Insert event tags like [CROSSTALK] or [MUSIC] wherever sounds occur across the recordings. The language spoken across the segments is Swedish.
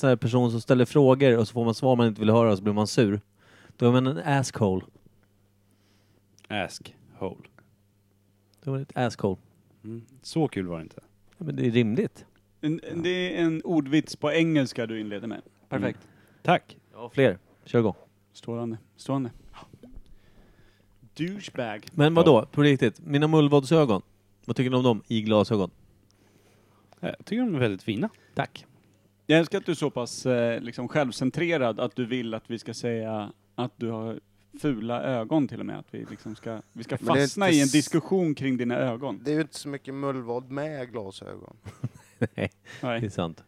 så här person som ställer frågor och så får man svar man inte vill höra och så blir man sur. Då är man en asshole. Ask hole. Då är man ett asshole. Mm. Så kul var det inte. Ja, men det är rimligt. En, en- Det är en ordvits på engelska du inleder med. Perfekt. Tack. Mm. Ja, fler. Kör igång. Strålande. Strålande. Douchebag. Men vad då? på riktigt, mina mullvadsögon. Vad tycker ni om dem i glasögon? Jag tycker de är väldigt fina. Tack. Jag älskar att du är så pass eh, liksom självcentrerad att du vill att vi ska säga att du har fula ögon till och med. Att vi, liksom ska, vi ska Men det är fastna inte i en s- diskussion kring dina ögon. Det är ju inte så mycket mullvad med glasögon. Nej, det är Nej. sant.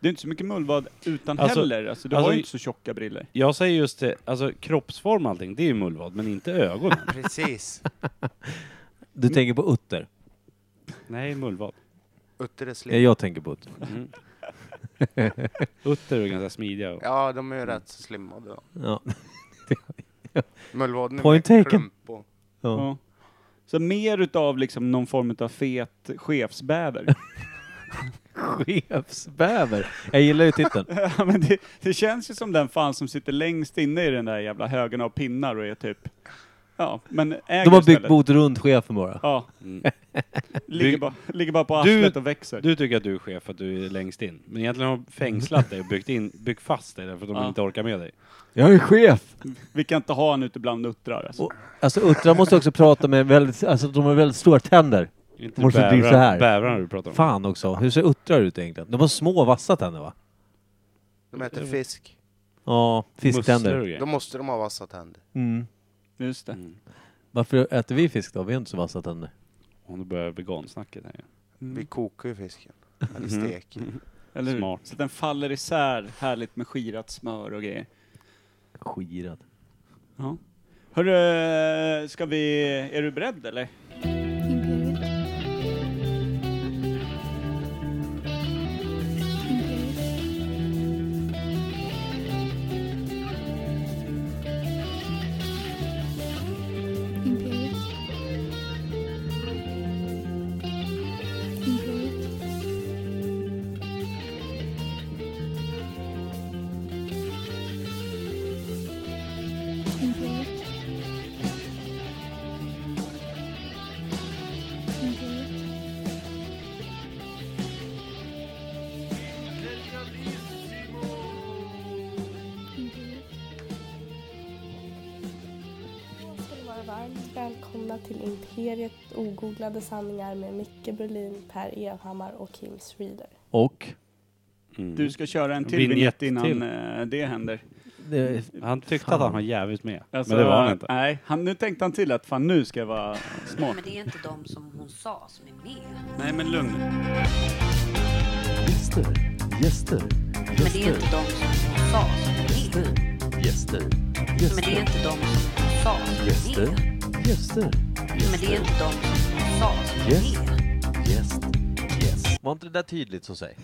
Det är inte så mycket mullvad utan Alltså- heller. Alltså, du alltså- har ju inte så tjocka briller. Jag säger just det, alltså kroppsform och allting, det är ju mullvad, men inte ögonen. Precis. Du tänker på utter? Nej, mullvad. [LAUGHS] Utter är Ja, slick. jag tänker på utter. Mm. Utter är ganska smidiga. och- Ja, de är ju rätt så slimmade. då. [LAUGHS] Ja. Mullvaden är Point mer taken. klump och... Ja. Ja. Så mer utav liksom någon form utav fet chefsbäver. Chefsbäver. [LAUGHS] Jag gillar ju titeln. [LAUGHS] Ja, men det, det känns ju som den fan som sitter längst inne i den där jävla högen av pinnar och är typ... Ja, men äger De har byggt istället. bot runt chefen bara. Ja. Mm. Ligger, Bygg- bara, ligger bara på Du- arslet och växer. Du tycker att du är chef för att du är längst in, men egentligen har de fängslat dig och byggt, in, byggt fast dig därför att de Ja. inte orkar med dig. Jag är chef! Vi kan inte ha en ute bland uttrar alltså. Och, alltså uttrar måste också prata med väldigt, alltså de har väldigt stora tänder. Inte Varför blir det så här? bävrarna du pratar om. Fan också, hur ser uttrar ut egentligen? De har små vassa tänder va? De äter fisk. Ja, Musslor och fisktänder. grejer. Då måste de ha vassa tänder. Mm. Just det. Mm. Varför äter vi fisk då? Vi har inte så vassa tänder. Och nu börjar vegansnacket här ju. Vi kokar ju fisken. Eller steker. Eller hur? Mm. Smart. Så att den faller isär härligt med skirat smör och grejer. Skirad. Ja. Hörru, ska vi... Är du beredd eller? Imperiet. Imperiet. Imperiet. Imperiet. Imperiet. Imperiet. Imperiet. ska ni vara varmt välkomna till Imperiet ogooglade sanningar med Micke Berlin, Per Evhammar och Kim Reader. Och? Mm. Du ska köra en till Vignett vignett innan till. eh, det händer. Det, Han tyckte Fan. att han var jävligt med, Alltså, men det var han inte. Nej, han, nu tänkte han till att fan nu ska jag vara smart. Men det är inte de som hon sa som är med. Nej men lugn Gäster, gäster, Men det är inte de som hon sa som är med. gäster, Men det är inte de som hon sa som är Gäster, med. gäster, Men det är inte de som hon sa som är med. gäst, gäst. var inte det där tydligt så säg?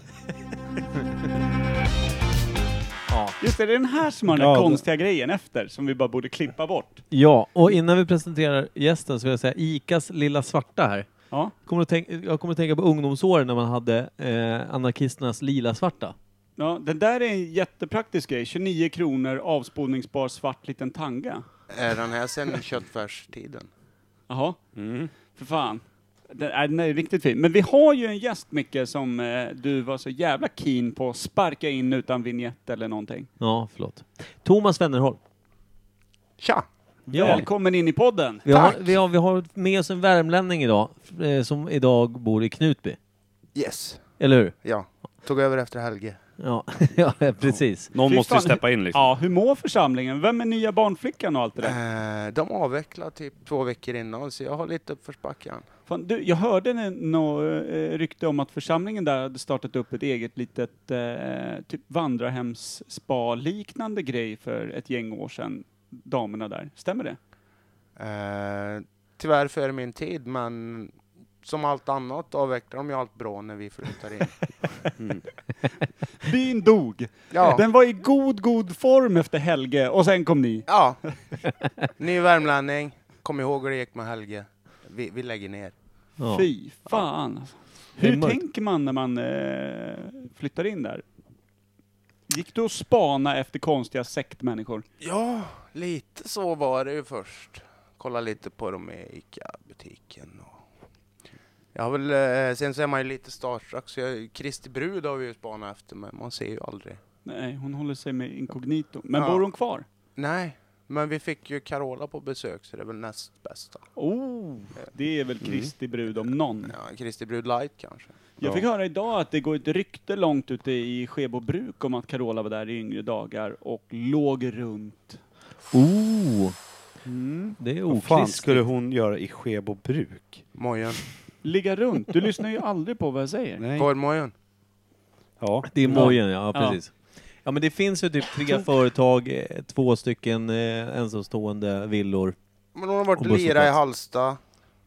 ja. Just det, det är den här som har den där Ja, det- konstiga grejen efter som vi bara borde klippa bort. ja, och innan vi presenterar gästen så vill jag säga Ikas lilla svarta här. Ja. Kommer att tänka, jag kommer att tänka på ungdomsåren när man hade eh, anarkisternas lila svarta. Ja, den där är en jättepraktisk grej. 29 kronor, avspolningsbar svart liten tanga. Är den här sen köttfärstiden? Jaha, Mm. för fan. Den, äh, den är riktigt fin. Men vi har ju en gäst, Micke, som eh, du var så jävla keen på att sparka in utan vignett eller någonting. Ja, förlåt. Thomas Wennerholm. Tja! Välkommen in i podden! Vi har, vi, har, vi har med oss en värmlänning idag, eh, som idag bor i Knutby. Yes. Eller hur? Ja. Tog över efter Helge. Ja, [LAUGHS] ja precis. Någon Fy måste ju fan, steppa in liksom. Ja, hur mår församlingen? Vem är nya barnflickan och allt det där? Eh, de avvecklade typ två veckor innan, så jag har lite uppförsbacke än. Fan, du, jag hörde en- nå eh, rykte om att församlingen där hade startat upp ett eget litet eh, typ vandrarhems-spa-liknande grej för ett gäng år sedan, damerna där. Stämmer det? Eh, tyvärr före min tid, men som allt annat avvecklar de ju allt bra när vi flyttar in. Byn dog! Ja, Den var i god, god form efter Helge, och sen kom ni. ja. ny värmlänning. Kom ihåg hur det gick med Helge. Vi, vi lägger ner. Ja. Fy fan alltså. Det är Hur mörkt. tänker man när man eh, flyttar in där? Gick du och spana efter konstiga sektmänniskor? Ja, lite så var det ju först. Kolla lite på dem i ICA-butiken. och- Jag har väl, eh, sen så är man ju lite starstruck, så jag, Kristi brud har vi ju spanat efter, men man ser ju aldrig. Nej, hon håller sig med inkognito. Men Ja. bor hon kvar? Nej, men vi fick ju Carola på besök, så det är väl näst bästa. Oh, det är väl Kristi Mm. brud om någon. Ja, Kristi brud light kanske. Jag fick höra idag att det går ett rykte långt ute i Skebo bruk om att Carola var där i yngre dagar och låg runt. Oh! Mm. Det är Vad fan okristligt. skulle hon göra i Skebo bruk? Mojen. Ligga runt? Du lyssnar ju aldrig på vad jag säger. Nej. Korvmojen. Ja. Det är Mojen, ja, Ja. precis. Ja men det finns ju typ tre företag, eh, två stycken eh, ensamstående villor. Men hon har varit Och och lira i busshållplats. Halsta.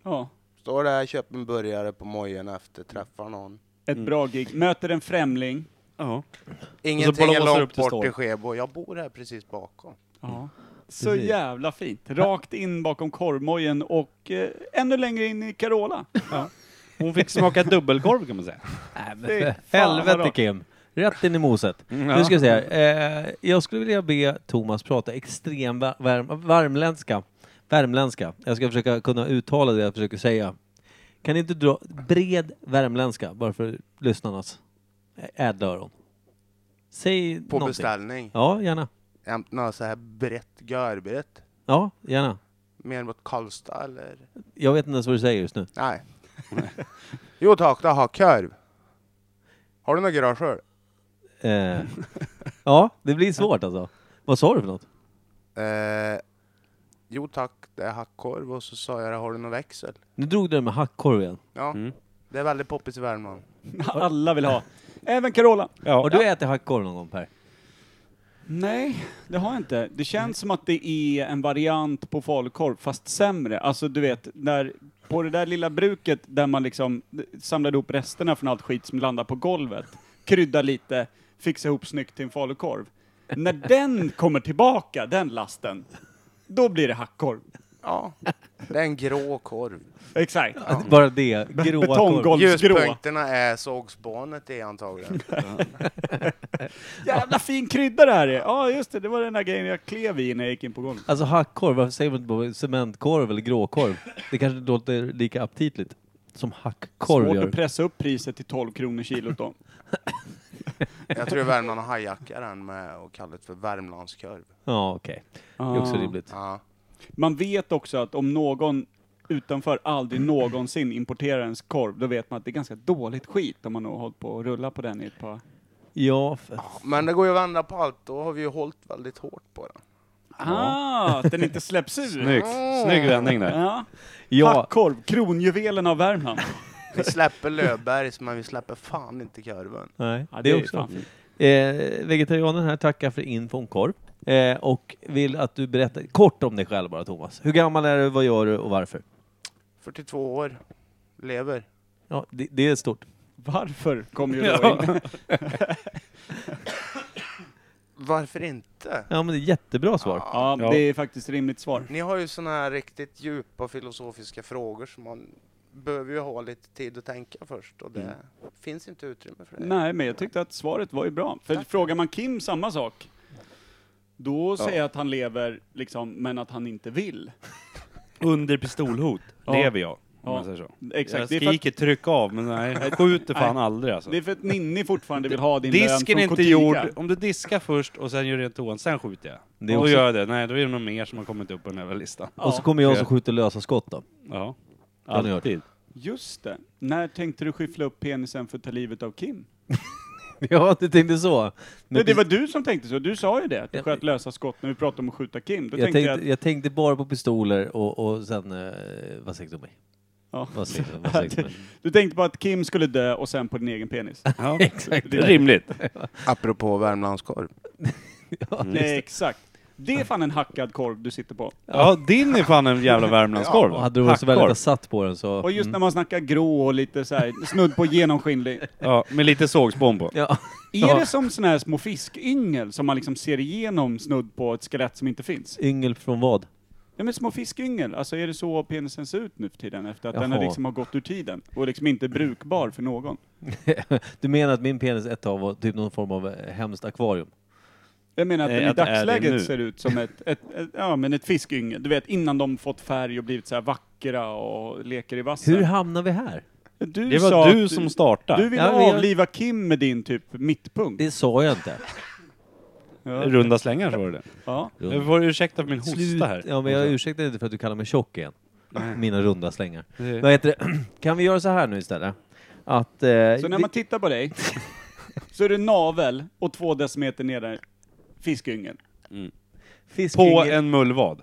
Ja, Står där, köper en burgare på Mojen efter, träffar någon. ett bra gig. Möter en främling. Mm. ja. Ingenting blåser är upp långt till bort storm. i Skebo. Jag bor här precis bakom. Mm. Ja. Så Precis. jävla fint. Rakt in bakom korvmojen och eh, ännu längre in i Carola. Hon fick smaka dubbelkorv kan man säga. Fy fan, vad Helvete bra. Kim! Rätt in i moset. Ja. Nu ska jag säga, eh, jag skulle vilja be Thomas prata extrem va- värm, värmländska. Värmländska. Jag ska försöka kunna uttala det jag försöker säga. Kan inte dra bred värmländska, bara för lyssnarnas ä- ädla öron? Säg På någonting. beställning. Ja, gärna. Jämt något så här brett, görbrett. Ja, gärna. Mer mot Karlstad eller? Jag vet inte ens vad du säger just nu. Nej. [LAUGHS] jo tack, det har korv. Har du några garageöl? Eh, ja, det blir svårt alltså. Vad sa du för något? Eh, jo tack, det är hackkorv. Och så sa jag det, har du någon växel? Nu drog du det med hackkorv igen. Ja, det är väldigt poppis i Värmland. Alla vill ha. Även Carola. Har Ja. du ätit hackkorv någon gång Per? Nej, det har jag inte. Det känns som att det är en variant på falukorv, fast sämre. Alltså du vet, när, på det där lilla bruket där man liksom samlade ihop resterna från allt skit som landade på golvet, krydda lite, fixa ihop snyggt till en falukorv. När den kommer tillbaka, den lasten, då blir det hackkorv. Ja, det är en grå korv. Exakt. Bara det, gråa korv. Betonggolv. Golvsgrå. Ljuspunkterna är sågspånet i antagligen. Jävla fin krydda det här är! Ja, just det, det var den där grejen jag klev i när jag gick in på golvet. Alltså hackkorv, varför säger man inte bara cementkorv eller gråkorv? Det kanske inte låter lika aptitligt som hackkorv Svårt gör. att pressa upp priset till 12 kronor kilot då. Jag tror Värmland har hajjackat den med och kallat det för Värmlandskorv. Ja, okej. Det är Ah. också rimligt. Ja. Man vet också att om någon utanför aldrig någonsin importerar ens korv, då vet man att det är ganska dåligt skit om man har hållit på och rulla på den i ett par... Ja, för... Ah. Men det går ju att vända på allt. Då har vi ju hållit väldigt hårt på den. Ah, att den inte släpps ur! Snyggt. Snygg vändning där. Ja. ja Hackkorv, kronjuvelen av Värmland. Vi släpper Löfbergs, men vi släpper fan inte korven. nej, Ja, det är ju också. fan fint. Eh, vegetarianen här tackar för infon korv. Eh, och vill att du berättar kort om dig själv bara Thomas. Hur gammal är du, vad gör du och varför? 42 år. Lever. Ja, det, det är stort. Varför kom ju då in? Varför inte? Ja men det är jättebra svar. Ja, det är faktiskt rimligt svar. Ni har ju såna här riktigt djupa filosofiska frågor som man behöver ju ha lite tid att tänka först och det Mm. finns inte utrymme för det. Nej, men jag tyckte att svaret var ju bra. För frågar man Kim samma sak, då säger jag att han lever, liksom, men att han inte vill. Under pistolhot lever jag. Om man säger så. Exakt. Jag Det är för att- skriker tryck av men nej, jag skjuter fan Nej. aldrig alltså. Det är för att Ninni fortfarande vill ha din lön Disken från är inte Kotiga. gjord. Om du diskar först och sen gör rent toan, sen skjuter jag. Det är då också- gör jag det. Nej, då är det nog mer som har kommit upp på den här jävla listan. Och så kommer jag som skjuter lösa skott då. [LAUGHS] Ja. har ni hört. Alltid. Just det. När tänkte du skyffla upp penisen för att ta livet av Kim? Ja, du tänkte så. Nej, Men det var du som tänkte så. Du sa ju det, att du Jag- sköt lösa skott när vi pratade om att skjuta Kim. Då jag, tänkte tänkte, jag att... jag tänkte bara på pistoler och, och sen... Eh, vad sägs om mig? Ja. Vad sägs om vad sägs om mig? Du tänkte bara att Kim skulle dö och sen på din egen penis. Ja. Exakt. Det är rimligt. Apropå Värmlandskorv. Nej, exakt. Det är fan en hackad korv du sitter på. Ja, din är fan en jävla Värmlandskorv. Och hade du varit så väldigt Hackkorv. besatt på den så... Och just Mm. när man snackar grå och lite så här, snudd på genomskinlig. Ja, med lite sågspån på. Ja. Är det som såna här små fiskyngel som man liksom ser igenom snudd på ett skelett som inte finns? Mm. Yngel från vad? Ja men små fiskyngel, alltså är det så penisen ser ut nu för tiden? Efter att den har Jaha. liksom har gått ur tiden och liksom inte är brukbar för någon. Du menar att min penis ett tag var typ någon form av eh, hemskt akvarium? Jag menar att Nej, den i att det är det nu. dagsläget ser ut som ett, ett, ett, ja, men ett fiskyngel. Du vet innan de fått färg och blivit så här vackra och leker i vassen. Hur hamnar vi här? Du Det sa var att du som startade. Du ville Ja, men jag- avliva Kim med din typ mittpunkt. Det sa jag inte. Ja. Runda slängar så var det. Ja. Jag får ursäkta för min hosta här. Ja, men jag ursäktar inte för att du kallar mig tjock igen. Mina runda slängar. Det- Vad heter det? [CLEARS THROAT] Kan vi göra så här nu istället? Att... Eh, Så när man tittar [LAUGHS] på dig, så är det navel och två decimeter nedan fiskyngel. På fiskyngel, en mullvad.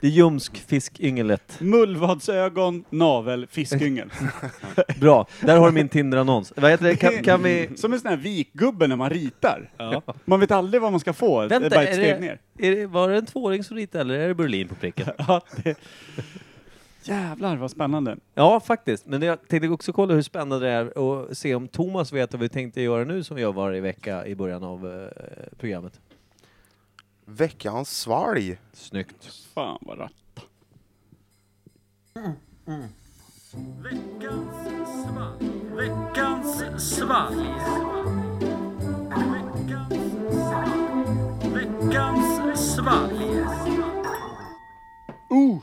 Det ljumskfiskyngelet. Mullvadsögon, navel, fiskyngel. Bra, där har du min Tinder-annons. Vad heter det? Kan, kan vi... Som en sån här vikgubbe när man ritar. Man vet aldrig vad man ska få, det är bara ett är steg det, ner. Är det, var det en tvååring som ritade eller är det Berlin på pricken? Ja, det... Jävlar vad spännande. Ja, faktiskt. Men jag tänkte också kolla hur spännande det är och se om Thomas vet vad vi tänkte göra nu som vi gör varje vecka i början av eh, programmet. Väcka hans svalg. Snyggt. Fan vad ratt.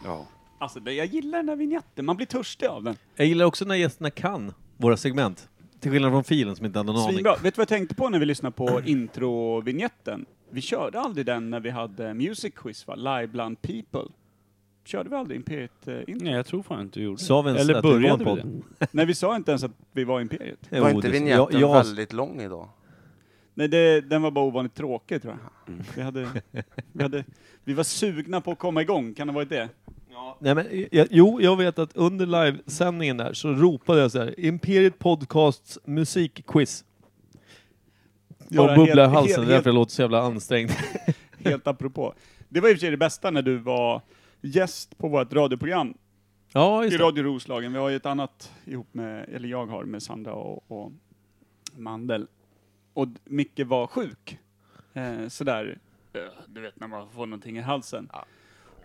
Ja. Alltså det, jag gillar den här vignetten, man blir törstig av den. Jag gillar också när gästerna kan våra segment. Till skillnad från filen som inte hade någon aning. Svinbra. Vet du vad jag tänkte på när vi lyssnade på [CLEARS THROAT] introvignetten? Vi körde aldrig den när vi hade Music Quiz va? Live bland people. Körde vi aldrig Imperiet eh, [LAUGHS] intro? Nej, jag tror fan inte du gjorde Sa vi ens Eller att det var en började vi podd? det? Nej vi sa inte ens att vi var Imperiet. Jo, Var inte det- vignetten jag- jag- väldigt lång idag? Nej det, den var bara ovanligt tråkig tror jag. Mm. Vi, hade, vi, hade, vi var sugna på att komma igång, kan det ha varit det? Nej, men, jag, jo, jag vet att under livesändningen där så ropade jag så här Imperiet Podcasts musikquiz. Ja, och bubblar i halsen, helt, därför helt, jag låter så jävla ansträngd. helt apropå. Det var i och för sig det bästa när du var gäst på vårt radioprogram ja, i just det. Radio Roslagen. Vi har ju ett annat ihop med, eller jag har med Sandra och, och Mandel. Och d- Micke var sjuk. Eh, sådär, eh, du vet när man får någonting i halsen.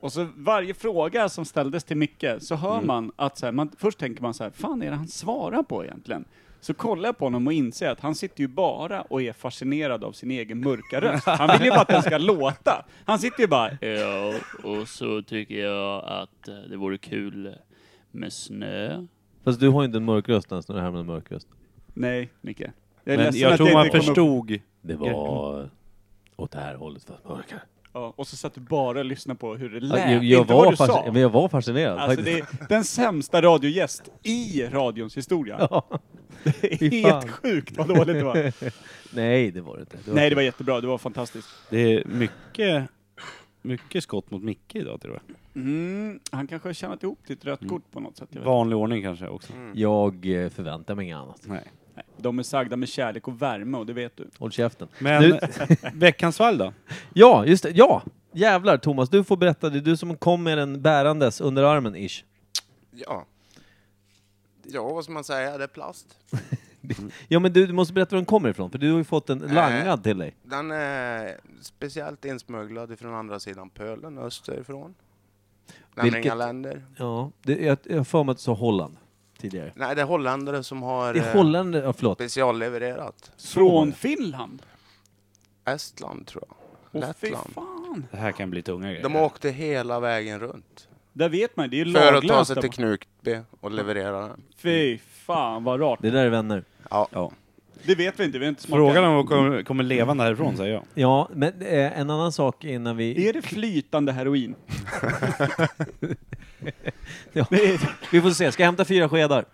Och så varje fråga som ställdes till Micke så hör Mm. man att så här, man, först tänker man så här, fan är det han svarar på egentligen? Så kollar jag på honom och inser att han sitter ju bara och är fascinerad av sin egen mörka [LAUGHS] röst. Han vill ju bara att den ska låta. Han sitter ju bara, Ja, och så tycker jag att eh, det vore kul med snö. Fast du har ju inte en mörk röst ens när det här med en mörk röst. nej Micke. Jag är Men ledsen jag att tror inte man kom upp- förstod. Det var åt det här hållet fast mörkare. Ja, och så satt du bara och lyssnade på hur det Ja, lät, jag, jag, inte vad var du sa. fasci- men jag var fascinerad Alltså det faktiskt. är den sämsta radiogäst i radions historia. [LAUGHS] Ja. det är fy helt fan. sjukt vad dåligt det [LAUGHS] var. Nej, det var det inte. Det var Nej, det var jättebra. Det var fantastiskt. Det är mycket, mycket skott mot Micke idag tror jag. Mm, han kanske har tjänat ihop till ett Mm. rött kort på något sätt. Jag vet. inte. Vanlig ordning kanske också. Mm. Jag eh, förväntar mig inget annat. Nej. Nej, de är sagda med kärlek och värme och det vet du. Håll käften. Men Nu- [LAUGHS] veckans fall då? Ja, just det. Ja! Jävlar Thomas, du får berätta. Det är du som kom med den bärandes under armen, ish. Ja. Ja, vad ska man säga? Det är plast. Ja, men du, du måste berätta var den kommer ifrån, för du har ju fått en langad till dig. Den är speciellt insmugglad från andra sidan pölen, österifrån. Nämligen Vilket- inga länder. Ja, det, jag jag har för mig att du sa Holland tidigare. Nej, det är holländare som har Det eh, är Holland, ja, förlåt. speciallevererat. Från Finland? Estland, tror jag. Åh fy Lettland. fan. Det här kan bli tunga grejer. De åkte hela vägen runt. Där vet man, det är ju För att ta laglöst. sig till där. Knutby och leverera den. Fy fan vad rart. Det där är vänner. Ja. Det vet vi inte, vi har inte smakat. Frågan om de kommer, kommer levande härifrån säger jag. Ja, men eh, en annan sak innan vi... Är det flytande heroin? Ja. [LAUGHS] Det är- Vi får se, ska jag hämta fyra skedar?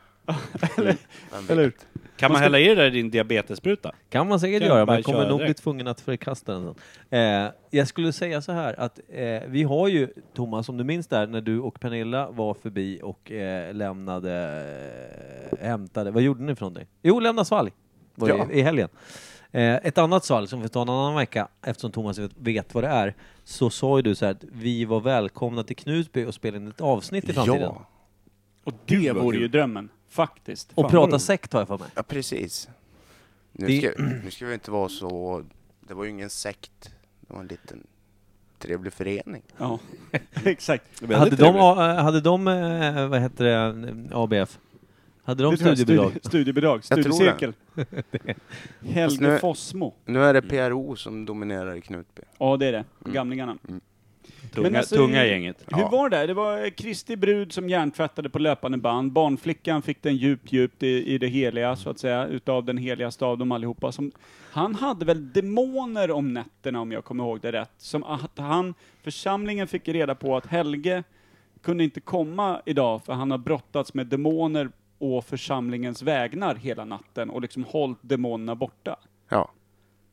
vem vet? Kan man hälla i det där i din diabetesspruta? Kan man säkert Kan göra, bara men kommer köra nog bli direkt. tvungen att förkasta den sen. Eh, jag skulle säga så här att eh, vi har ju, Thomas, om du minns där, när du och Pernilla var förbi och eh, lämnade, eh, hämtade, vad gjorde ni för någonting? Jo, lämna svalg var det Ja. i, i helgen. Eh, ett annat svalg som vi tar en annan vecka, eftersom Thomas vet, vet vad det är, så sa ju du så här att vi var välkomna till Knutby och spela in ett avsnitt i framtiden. Ja, Och det vore ju drömmen, faktiskt. Och Fan, vad prata roligt. sekt har jag för mig. ja precis. Nu Det- ska, nu ska vi inte vara så... Det var ju ingen sekt. Det var en liten jättetrevlig förening. Ja, [LAUGHS] exakt. Hade de, A- hade de, eh, vad heter det, ABF? Hade de Det tror jag, studiebidrag? Studie, studiebidrag, tror det. [LAUGHS] studiecirkel. Fast nu Helge är- Fossmo. Nu är det PRO som dominerar i Knutby. Ja, det är det. Mm. Gamlingarna. Men Tunga, alltså, tunga hur- gänget. Ja. Hur var det? Det var Kristi brud som hjärntvättade på löpande band. Barnflickan fick den djupt, djupt i, i det heliga, så att säga, utav den heligaste av dem allihopa. Som, han hade väl demoner om nätterna, om jag kommer ihåg det rätt. Som att han, församlingen fick reda på att Helge kunde inte komma idag, för han har brottats med demoner å församlingens vägnar hela natten och liksom hållit demonerna borta Ja.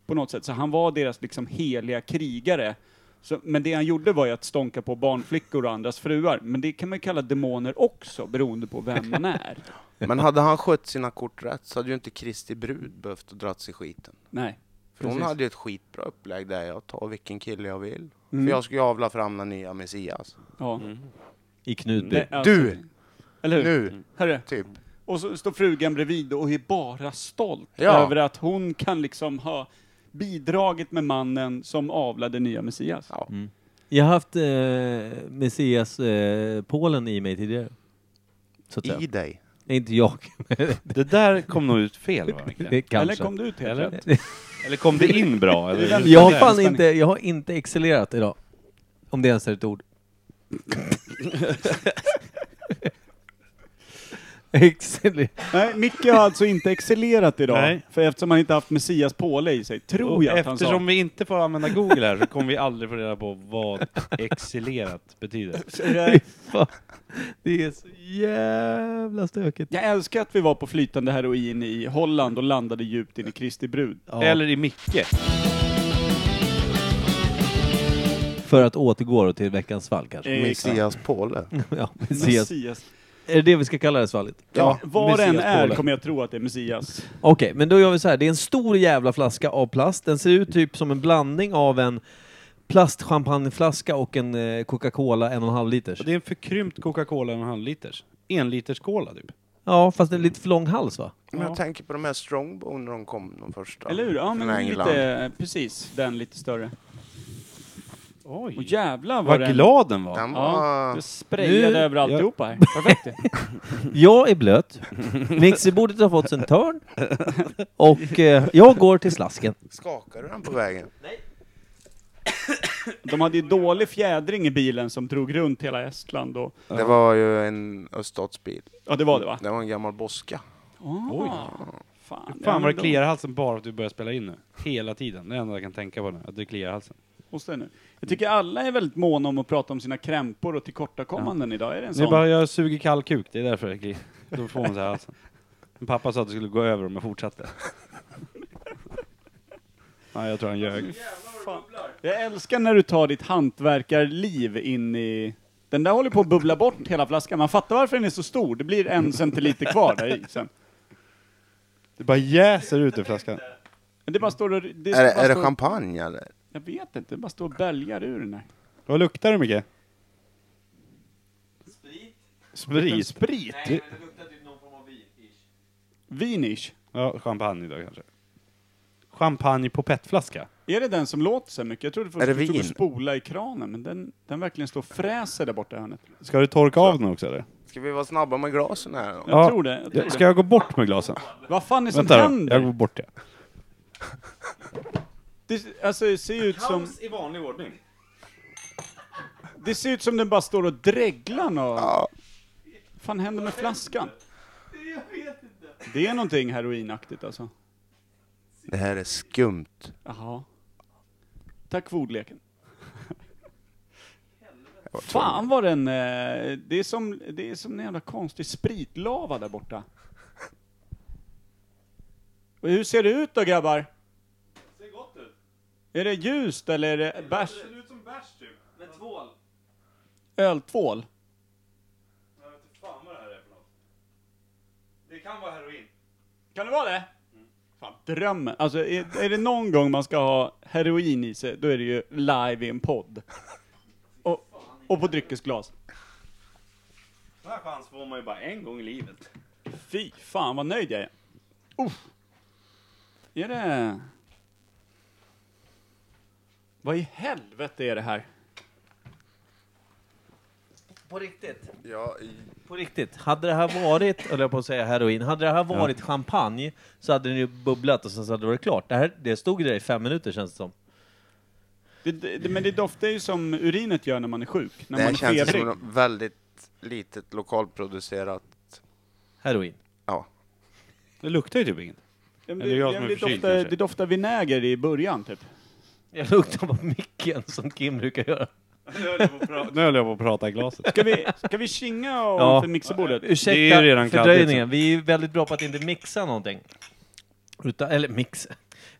på något sätt. Så han var deras liksom heliga krigare. Så, men det han gjorde var ju att stånka på barnflickor och andras fruar. Men det kan man ju kalla demoner också, beroende på vem man [LAUGHS] är. Men hade han skött sina kort rätt så hade ju inte Kristi brud behövt att dra sig skiten. Nej. För hon Precis. hade ju ett skitbra upplägg där jag tar vilken kille jag vill. Mm. För jag ska ju avla fram den nya Messias. Ja. I Knutby? Det- alltså- Mm. Du! Eller hur? Nu! Herre. Typ. Och så står frugan bredvid och är bara stolt Ja. över att hon kan liksom ha bidragit med mannen som avlade nya Messias. Ja. Jag har haft eh, Messias eh, Polen i mig tidigare. Så att säga. I Typ. dig. Nej, inte [LAUGHS] jag. Det där kom nog ut fel va? Det [LAUGHS] Eller kanske. kom du ut helt Eller? rätt? Eller kom det in bra? Eller? Jag har Det är fan spänning. inte, jag har inte excellerat idag. Om det ens är ett [LAUGHS] ord. Exceller- Nej, Micke har alltså inte excellerat idag, Nej. för eftersom han inte haft Messias påle i sig, tror Och jag att han sa. eftersom vi inte får använda Google här så kommer vi aldrig få reda på vad excellerat betyder. Eh, Fan. Det är så jävla stökigt. Jag älskar att vi var på flytande heroin i Holland och landade djupt in i Kristi brud. Ja, Eller i Micke. För att återgå då till veckans svall kanske. Eh, Messias Påle. Mm. [LAUGHS] Ja, Messias. Messias. Är det det vi ska kalla det svallet? Ja. Var det än är Messias-pålen. kommer jag tro att det är Messias. Okej, men då gör vi så här. Det är en stor jävla flaska av plast. Den ser ut typ som en blandning av en plastchampagneflaska och en eh, Coca-Cola en och en halv liters. Och det är en förkrympt Coca-Cola en halv liters. En liters cola typ. Ja, fast den är lite för lång hals va? Men jag tänker på de här Strongbone när de kom, de första. Eller hur? Ja, Från men England. lite, eh, precis, den lite större. Oj. Och jävlar vad vad den... glad den var. Den Ja, var... det sprayade Nu- över alltihopa här. Perfekt. Jag är blöt. Mixerbordet har fått en törn. Och eh, jag går till slasken. Skakade du den på vägen? De hade ju dålig fjädring i bilen som drog runt hela Estland och... Det var ju en öststatsbil. Ja, det var det va? Ah, Det var en gammal boska. Oj. Fan, Fan vad det de- kliar i halsen bara för att du börjar spela in nu. Hela tiden. Det enda jag kan tänka på nu. Att det kliar i halsen. Hos dig nu. Jag tycker alla är väldigt måna om att prata om sina krämpor och tillkortakommanden idag. Är det en Det är sån? bara jag suger kall kuk. Det är därför det kliar. [LAUGHS] Då får man så här i halsen. Min pappa sa att det skulle gå över om jag fortsatte. [LAUGHS] Nej, jag tror han ljög. Jag älskar när du tar ditt hantverkarliv in i... Den där håller på att bubbla bort hela flaskan. Man fattar varför den är så stor. Det blir en centiliter kvar där i sen. Det bara jäser ut ur flaskan. Men det bara står och... Det Är det, bara är det står- champagne eller? Jag vet inte. Det bara står och bälgar ur den här. Vad luktar det mycket? En Sprit. Sprit? sprit? Vinish? Ja, champagne idag kanske. Champagne på petflaska. Är det den som låter så här mycket? Jag trodde först Är det att du stod och vin? spola i kranen, men den, den verkligen står och fräser där borta i hörnet. Ska du torka av den också eller? Ska vi vara snabba med glasen här? då? Jag tror det. Jag tror Ska det. jag gå bort med glasen? Vad fan är det som Vänta, händer? jag går bort det. Det, alltså, det ser ut som... i vanlig ordning. Det ser ut som den bara står och dreglar och... Vad fan händer med flaskan? Det är någonting heroinaktigt alltså. Det här är skumt. Jaha. Tack för ordleken. Fan var den... eh, Det är som, det är som en jävla konstig spritlava där borta. Och hur ser det ut då grabbar? Ser gott ut. Är det ljust eller är det bärs? Det ser ut som bärs typ. Med tvål. Öltvål? Jag vet inte fan vad det här är för något. Det kan vara heroin. Kan det vara det? Fan, drömmen. Alltså, är, är det någon gång man ska ha heroin i sig, då är det ju live i en podd. Och, och på dryckesglas. Den här chansen får man ju bara en gång i livet. Fy fan vad nöjd jag är. Uff. Är det... Vad i helvete är det här? På riktigt? Ja, På riktigt. Hade det här varit, höll jag på att säga heroin, hade det här varit champagne så hade den ju bubblat och sen så hade det varit klart. Det, här, det stod ju där i fem minuter känns det som. Det, det, men det doftar ju som urinet gör när man är sjuk, när det här man är känns febrig. som något väldigt litet lokalproducerat. Heroin. Ja. Det luktar ju typ inget. Ja, men Eller jag det, som är det, förkyld, doftar, kanske. det doftar vinäger i början typ. Jag luktar på micken som Kim brukar göra. Nu höll jag på att prata i glaset. Ska vi, ska vi kinga om Ja. för mixerbordet? Ursäkta Det är ju redan kladdigt, fördröjningen. Vi är ju väldigt bra på att inte mixa någonting. Utan, eller mixa.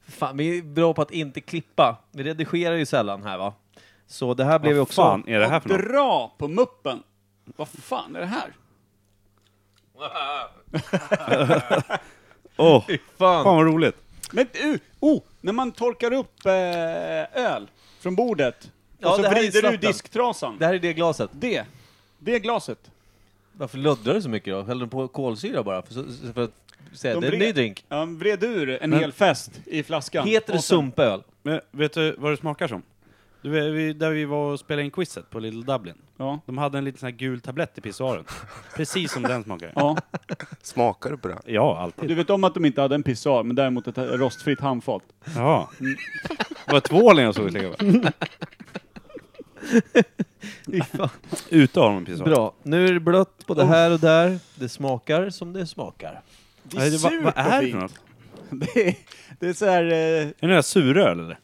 Fan, vi är bra på att inte klippa. Vi redigerar ju sällan här va. Så det här blev ju Vad också... fan är det här för något? Dra på muppen! Vad fan är det här? Åh, Fan. fan vad roligt. Men uh, oh, när man torkar upp eh, öl från bordet Ja, och så det här är vrider du slatten. disktrasan. Det här är det glaset. Det, det är glaset. Varför luddrar du så mycket då? Häller du på kolsyra bara? För, så- så- för att säga, De det är en vred- ny drink. Ja, han vred ur en Men- hel fest i flaskan. Heter det Och sen- sumpöl? Men vet du vad det smakar som? Du, vet, vi, där vi var och spelade in quizet på Little Dublin. Ja. De hade en liten sån här gul tablett i pissoaren. Precis som den smakar. ja. Smakar du på det? Ja, alltid. Du vet om att de inte hade en pissoar, men däremot ett rostfritt handfat. Ja. Det var tvålen jag såg i tv. Fy fan. Ute har de en [LAUGHS] pissoar. Bra. Nu är det blött både här och där. Det smakar som det smakar. Det Nej, det, vad, vad är det för fint. något? [LAUGHS] det är, det är så här... Eh, Är det där suröl eller?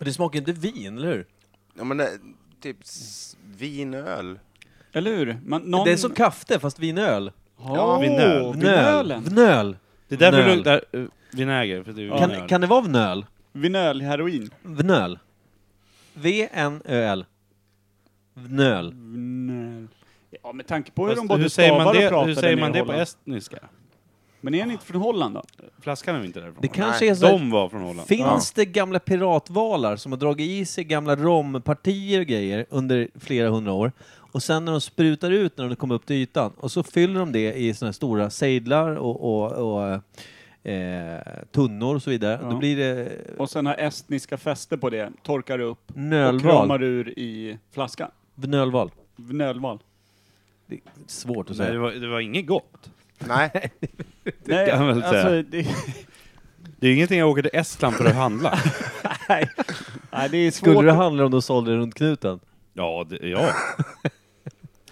Men det smakar inte vin, eller hur? Ja, men det, typ s- vinöl. eller hur? Man, någon... Det är som kaffe, fast vinöl. Ja, vinöl. Vinölen. Vnöl. Det är därför det Nöl. luktar eh, vinäger. För det är ju Kan, vinöl. kan det vara vnöl? Vinölheroin. Vnöl. V-N-Ö-L. Vnöl. Vinöl. Ja, med tanke på hur de Fast både hur säger stavar man och det, pratar hur där säger nere man i det på Holland. estniska? Men är ni inte från Holland då? Flaskan är ju inte därifrån. Det kanske är så... De var från Holland. Finns det gamla piratvalar som har dragit i sig gamla rompartier och grejer under flera hundra år och sen när de sprutar ut när de kommer upp till ytan och så fyller de det i såna här stora sejdlar och, och, och eh, tunnor och så vidare. Ja. Då blir det Och sen har estniska fäste på det, torkar upp och nölval. kramar ur i flaskan. Nölval. Vinölval. Det är svårt att Nej, det, säga. var, det var inget gott. Nej, Nej, alltså, kan man väl säga. det, [LAUGHS] Det är ju ingenting jag åker till Estland för att handla. nej, nej, det är svårt. Skulle det handla om de sålde runt knuten? ja, det, ja.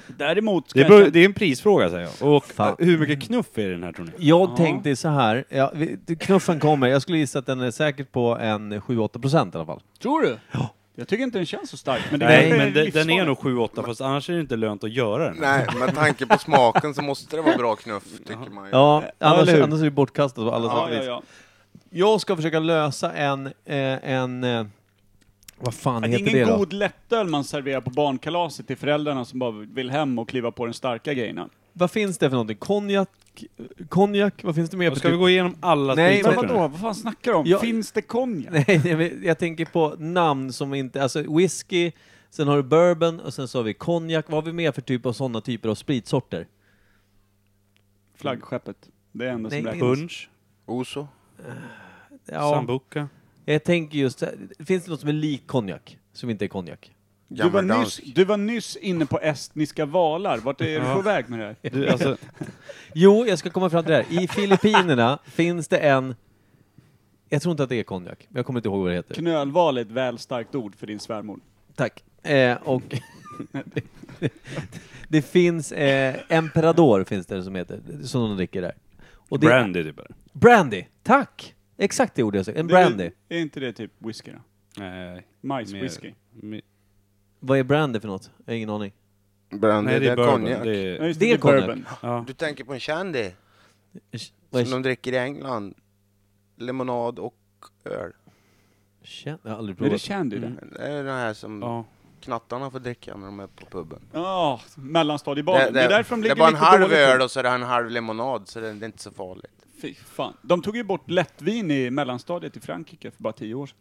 Däremot Det, kan jag beror, känna- det är en prisfråga säger jag. Och Fan. eh, hur mycket knuff är det i den här tror ni? Jag Ja. tänkte så här, ja, vi- knuffen kommer, jag skulle gissa att den är säkert på en 7-8 procent i alla fall. Tror du? Ja. Jag tycker inte den känns så stark. Men det Nej, kanske men de- den är livsfarlig. nog 7-8 fast annars är det inte lönt att göra den. nej, med tanke på smaken så måste det vara bra knuff, tycker man ju. Ja, annars, eller hur? annars är det bortkastat på alla Ja, sätt ja, och vis. ja. Jag ska försöka lösa en... Eh, en eh, vad fan Det är heter ingen det då? god lättöl man serverar på barnkalaset till föräldrarna som bara vill hem och kliva på den starka grejerna. Vad finns det för någonting? Konjak? Konjak? Vad finns det mer? på Ska vi typ? gå igenom alla Nej, spritsorter Men vet nu? vadå, vad fan snackar du om? Ja. Finns det konjak? Nej, nej, men jag tänker på namn som inte... Alltså whisky, sen har du bourbon och sen så har vi konjak. Vad har vi mer för typ av sådana typer av spritsorter? Flaggskeppet. Mm. Det är det enda Nej, som det är räknas. Punch, Oso? Ja, Sambuca. jag tänker just... Finns det något som är likt konjak? Som inte är konjak? Du var, nyss, Gammeldansk. du var nyss inne på estniska valar. Vart är du på väg med det här? Du, alltså, [LAUGHS] Jo, jag ska komma fram till det här. I Filippinerna finns det en... Jag tror inte att det är konjak. Jag kommer inte ihåg vad det heter. Knölval är ett väl starkt ord för din svärmor. Tack. Eh, och [LAUGHS] det, det finns eh, Emperador finns det som heter, som de dricker där. Och det- brandy typ eller? Brandy, tack! Exakt det ordet jag sa. En Det är- brandy. Är inte det typ whisky då? Nej, Majswhisky? mi- Vad är brandy för något? Jag har ingen aning. Brandy, nej det är bourbon. konjak. Det Ja, är, just det är konjak. ja. Du tänker på en shandy, Vad som är de dricker i England. Lemonad och öl. känd? Jag har aldrig Är det provat. Shandy det? Mm. Det är den här som Ja. knattarna får dricka när de är på puben. Ja, mellanstadiebarn. Det, är därför de det ligger är bara en lite halv dåligt till. öl och så är det en halv lemonad, så det, det är inte så farligt. Fy fan. De tog ju bort lättvin i mellanstadiet i Frankrike för bara tio år sedan.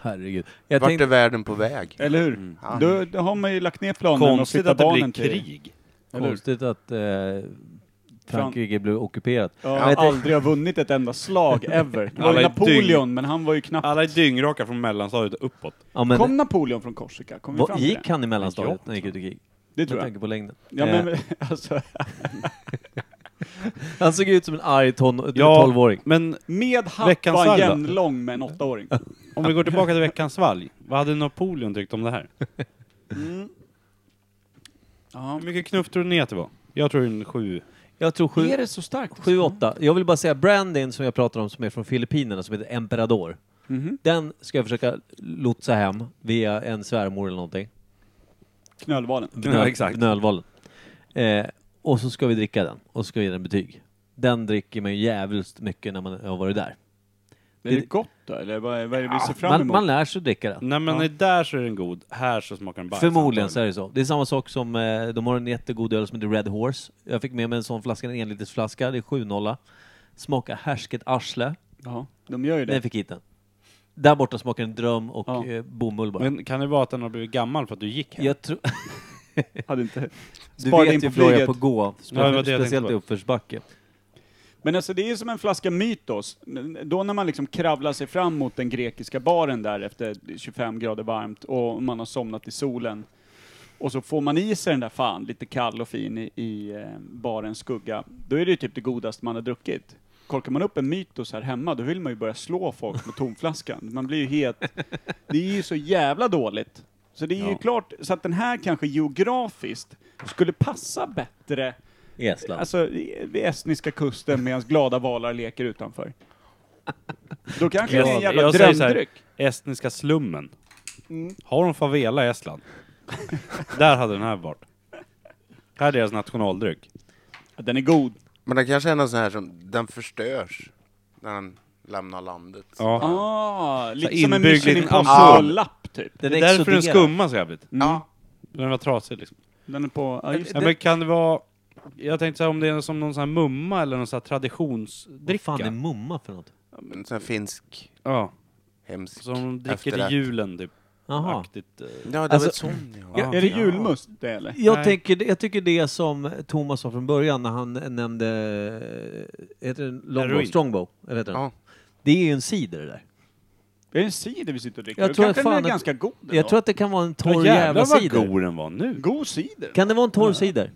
Herregud. Jag Vart tänkte, är världen på väg? Eller hur? Mm. Ja. Då, då har man ju lagt ner planen och Konstigt flyttat att det blir barnen till... krig. eller hur? konstigt att eh, Frankrike blev ockuperat. Ja, Jag vet- aldrig har vunnit ett enda slag ever. Det var Alla ju är Napoleon, men han var ju knappt... Alla är dyngraka från mellanstadiet och uppåt. Ja, men, Kom Napoleon från Korsika? Kom vi vad, fram till det? gick han i mellanstadiet Ja. när han gick ut i krig? Det Med tror jag. tanke på längden. Ja, Eh, men, [LAUGHS] alltså, Han såg ut som en arg ton- eh, Ja. 12-åring. Men med Veckans happan salva. jämnlång med en åttaåring. om vi går tillbaka till veckans svalg. Vad hade Napoleon tyckt om det här? Mm. Ja, Hur mycket knuff tror du ner det var? Jag tror en sju. Jag tror är 7 det så starkt? 7-8. Jag vill bara säga Brandin som jag pratar om som är från Filippinerna som heter Emperador. Mhm. Den ska jag försöka lotsa hem via en svärmor eller [LAUGHS] någonting. Knölvalen. Ja, exakt. Knölvalen. Eh, och så ska vi dricka den och så ska vi ge den betyg. Den dricker man ju jävligt mycket när man har varit där. Är det gott då, eller vad är, vad är det vi ser fram Man, emot? man lär sig att dricka den. Nej men Ja. där så är den god, här så smakar den bajs. Förmodligen så är det så. Det är samma sak som, eh, de har en jättegod öl som heter Red Horse. Jag fick med mig en sån flaska, en enlitersflaska, det är 7-0. Smakar härsket arsle. Ja, de gör ju Den det. fick hit den. Där borta smakar den dröm och Ja. eh, bomull bara. Men kan det vara att den har blivit gammal för att du gick hem? jag tror... Hade inte. [LAUGHS] Du Sparade vet in på ju Florida flyget. på gå. Ja, det var Speciellt, det jag speciellt i tänkte uppförsbacke. Men alltså det är ju som en flaska Mytos. N- Då när man liksom kravlar sig fram mot den grekiska baren där efter 25 grader varmt och man har somnat i solen. Och så får man i sig den där fan, lite kall och fin i, i eh, barens skugga. Då är det ju typ det godaste man har druckit. Korkar man upp en Mytos här hemma, då vill man ju börja slå folk med tomflaskan. Man blir ju het. Det är ju så jävla dåligt. Så det är ju Ja. klart, så att den här kanske geografiskt skulle passa bättre I Estland. Alltså, i- vid estniska kusten medan glada valar leker utanför. Då kanske det är en Jag- jävla jag säger så här, drömdryck. Mm. Estniska slummen. Har de favela i Estland? där hade den här varit. Här är deras nationaldryck. Den är god. Men det kanske är någon sån här som, den förstörs när den lämnar landet. Ja. Ah, lite Så som en inbyggd Mission liten Impossible-lapp typ. Mm. den Det är därför den exploderar. skummar så jävligt. Ja. Den var trasig liksom. Den är på... Ja, just Ja, det. men kan det vara... Jag tänkte så här, om det är som någon sån här mumma eller någon sån här Vad fan är traditionsdricka. mumma för något? En sån här finsk, Ja, hemsk som de dricker efterrätt. till julen typ. Jaha. Aktigt. eh. Ja, det är Alltså- väl sån ja. Är det julmust det eller? Jag, Nej. tänker, jag tycker det som Thomas sa från början när han nämnde, eh, heter den Longbow? Heroin. Strongbow? Eller heter den? Ja. Det är ju en cider det där. Är det en cider vi sitter och dricker? Jag Då tror kanske fan den är att- ganska god Jag tror att det kan vara en torr Ja, jävla vad cider. god den var nu. God cider? Kan det vara en torr cider?